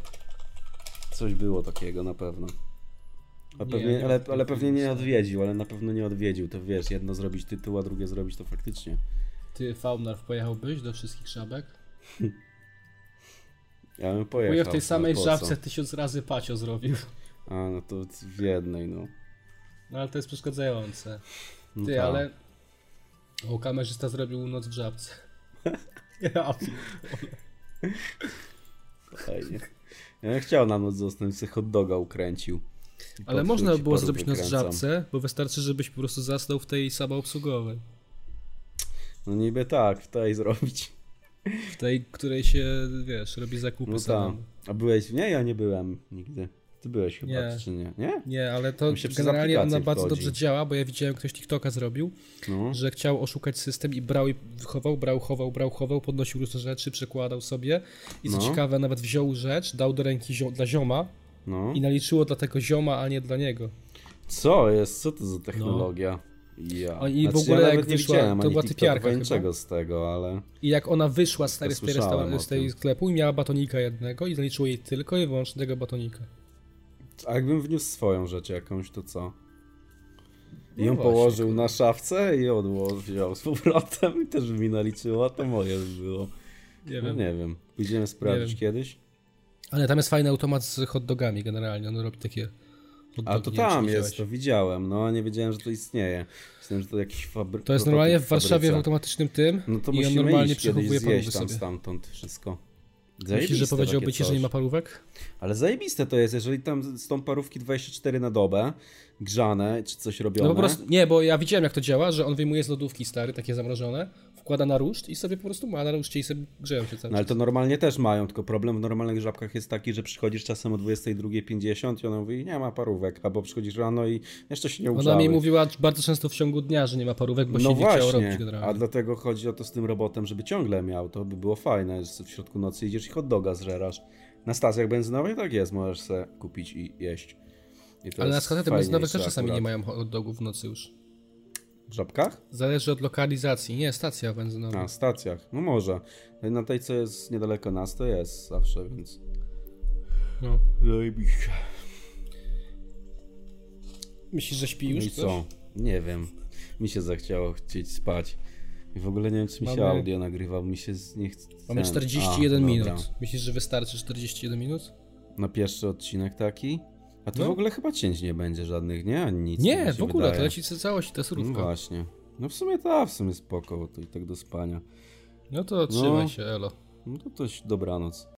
Speaker 2: Coś było takiego na pewno. A
Speaker 1: Nie,
Speaker 2: pewnie,
Speaker 1: nie
Speaker 2: ale,
Speaker 1: robił
Speaker 2: ale pewnie
Speaker 1: nic.
Speaker 2: nie odwiedził, ale na pewno nie odwiedził. To wiesz, jedno zrobić tytuł, a drugie zrobić to faktycznie.
Speaker 1: Ty Faunarw pojechałbyś do wszystkich żabek?
Speaker 2: Ja bym pojechał.
Speaker 1: Bo ja w tej
Speaker 2: ale
Speaker 1: samej
Speaker 2: po co?
Speaker 1: żabce tysiąc razy pacio zrobił.
Speaker 2: A, no to w jednej, no.
Speaker 1: No ale to jest przeszkadzające.
Speaker 2: no
Speaker 1: Ty,
Speaker 2: tak.
Speaker 1: ale... O, kamerzysta zrobił noc w żabce. Ja pierdolę.
Speaker 2: Fajnie. Ja bym chciał na noc zostać, sobie hot doga ukręcił. I
Speaker 1: Ale
Speaker 2: patrzył,
Speaker 1: można
Speaker 2: jak się
Speaker 1: było
Speaker 2: paru
Speaker 1: zrobić noc w
Speaker 2: wykręcam.
Speaker 1: żabce, bo wystarczy, żebyś po prostu zasnął w tej samoobsługowej.
Speaker 2: No niby tak, tutaj zrobić.
Speaker 1: W tej, której się, wiesz, robi zakupy
Speaker 2: No tak.
Speaker 1: samemu.
Speaker 2: A byłeś w niej? Ja nie byłem nigdy. Ty byłeś chyba,
Speaker 1: Nie.
Speaker 2: czy nie? Nie?
Speaker 1: Nie, ale to
Speaker 2: Tam się przez
Speaker 1: generalnie ona
Speaker 2: aplikację
Speaker 1: bardzo
Speaker 2: wchodzi.
Speaker 1: dobrze działa, bo ja widziałem, ktoś TikToka zrobił,
Speaker 2: No.
Speaker 1: że chciał oszukać system i brał i chował, brał, chował, brał, chował, podnosił różne rzeczy, przekładał sobie i co
Speaker 2: No.
Speaker 1: ciekawe, nawet wziął rzecz, dał do ręki zio- dla zioma
Speaker 2: no.
Speaker 1: i naliczyło dla tego zioma, a nie dla niego.
Speaker 2: Co jest? Co to za technologia? Ja.
Speaker 1: No. A i
Speaker 2: Znaczy,
Speaker 1: w ogóle
Speaker 2: ja
Speaker 1: jak
Speaker 2: nawet nie
Speaker 1: wyszła-
Speaker 2: widziałem
Speaker 1: to
Speaker 2: ani
Speaker 1: była
Speaker 2: TikToka,
Speaker 1: typiarka
Speaker 2: ani
Speaker 1: chyba.
Speaker 2: niczego z tego, ale...
Speaker 1: I jak ona wyszła stary z tej,
Speaker 2: Tak słyszałem
Speaker 1: restauracji,
Speaker 2: o
Speaker 1: z tej
Speaker 2: tym.
Speaker 1: sklepu i miała batonika jednego i zaliczyło jej tylko i wyłącznie tego batonika.
Speaker 2: A jakbym wniósł swoją rzecz jakąś, to co? I
Speaker 1: No
Speaker 2: ją
Speaker 1: właśnie,
Speaker 2: położył na szafce i odłożył wziął z powrotem i też by mi naliczyła, to moje by było.
Speaker 1: Nie
Speaker 2: No
Speaker 1: wiem.
Speaker 2: nie wiem. Pójdziemy sprawdzić
Speaker 1: wiem.
Speaker 2: kiedyś.
Speaker 1: Ale tam jest fajny automat z hot dogami generalnie, on robi takie hot
Speaker 2: A
Speaker 1: dogi,
Speaker 2: to
Speaker 1: nie wiem,
Speaker 2: tam
Speaker 1: czy
Speaker 2: jest,
Speaker 1: widziałeś.
Speaker 2: to widziałem, no a nie wiedziałem, że to istnieje. Myślałem, że to jakiś fabryk.
Speaker 1: To jest normalnie w Warszawie w automatycznym tym
Speaker 2: No to
Speaker 1: i on
Speaker 2: musimy
Speaker 1: normalnie
Speaker 2: iść kiedyś
Speaker 1: przechowuje paluby
Speaker 2: zjeść tam
Speaker 1: sobie.
Speaker 2: stamtąd wszystko.
Speaker 1: Myślisz, że
Speaker 2: Zajebiste
Speaker 1: powiedziałby
Speaker 2: takie
Speaker 1: ci, że nie
Speaker 2: coś.
Speaker 1: ma parówek?
Speaker 2: Ale zajebiste to jest, jeżeli tam z- są parówki 24 na dobę, grzane czy coś robione.
Speaker 1: No po prostu, nie, bo ja widziałem jak to działa, że on wyjmuje z lodówki stary, takie zamrożone, wkłada na ruszt i sobie po prostu ma na ruszcie i sobie grzeją się cały
Speaker 2: No ale
Speaker 1: czas.
Speaker 2: to normalnie też mają, tylko problem w normalnych żabkach jest taki, że przychodzisz czasem o 22.50 i ona mówi, nie ma parówek, albo przychodzisz rano i jeszcze się nie ugrzały.
Speaker 1: Ona mi mówiła bardzo często w ciągu dnia, że nie ma parówek, bo się
Speaker 2: no
Speaker 1: nie chciało robić
Speaker 2: właśnie, a
Speaker 1: generalnie.
Speaker 2: dlatego chodzi o to z tym robotem, żeby ciągle miał, to by było fajne, że w środku nocy idziesz i hot doga zżerasz. Na stacjach benzynowych tak jest, możesz se kupić i jeść. I to
Speaker 1: Ale na
Speaker 2: jest
Speaker 1: schatach benzynowych też
Speaker 2: fajniejsze
Speaker 1: czasami nie
Speaker 2: akurat.
Speaker 1: mają hot dogów w nocy już.
Speaker 2: W żabkach?
Speaker 1: Zależy od lokalizacji. Nie, stacja benzynowa.
Speaker 2: Na stacjach, no może. Na tej, co jest niedaleko nas, to jest zawsze, więc...
Speaker 1: No.
Speaker 2: Zajebiście.
Speaker 1: Myślisz, że śpi
Speaker 2: No
Speaker 1: już
Speaker 2: i
Speaker 1: ktoś?
Speaker 2: co? Nie wiem. Mi się zachciało chcieć spać. I w ogóle nie wiem, czy mi się
Speaker 1: Mamy-
Speaker 2: audio nagrywa, mi się z nie chce.
Speaker 1: Mamy
Speaker 2: ten-
Speaker 1: 41
Speaker 2: A,
Speaker 1: minut.
Speaker 2: dobra.
Speaker 1: Myślisz, że wystarczy 41 minut?
Speaker 2: Na pierwszy odcinek taki? A to
Speaker 1: No.
Speaker 2: w ogóle chyba cięć nie będzie żadnych, nie? Ani nic. mi
Speaker 1: Nie,
Speaker 2: się
Speaker 1: w ogóle,
Speaker 2: wydaje.
Speaker 1: to leci całość i ta
Speaker 2: No
Speaker 1: surówka.
Speaker 2: właśnie. No w sumie ta, w sumie spoko, bo to i tak do tak spania.
Speaker 1: No to trzymaj
Speaker 2: No.
Speaker 1: się, elo.
Speaker 2: No to coś dobranoc.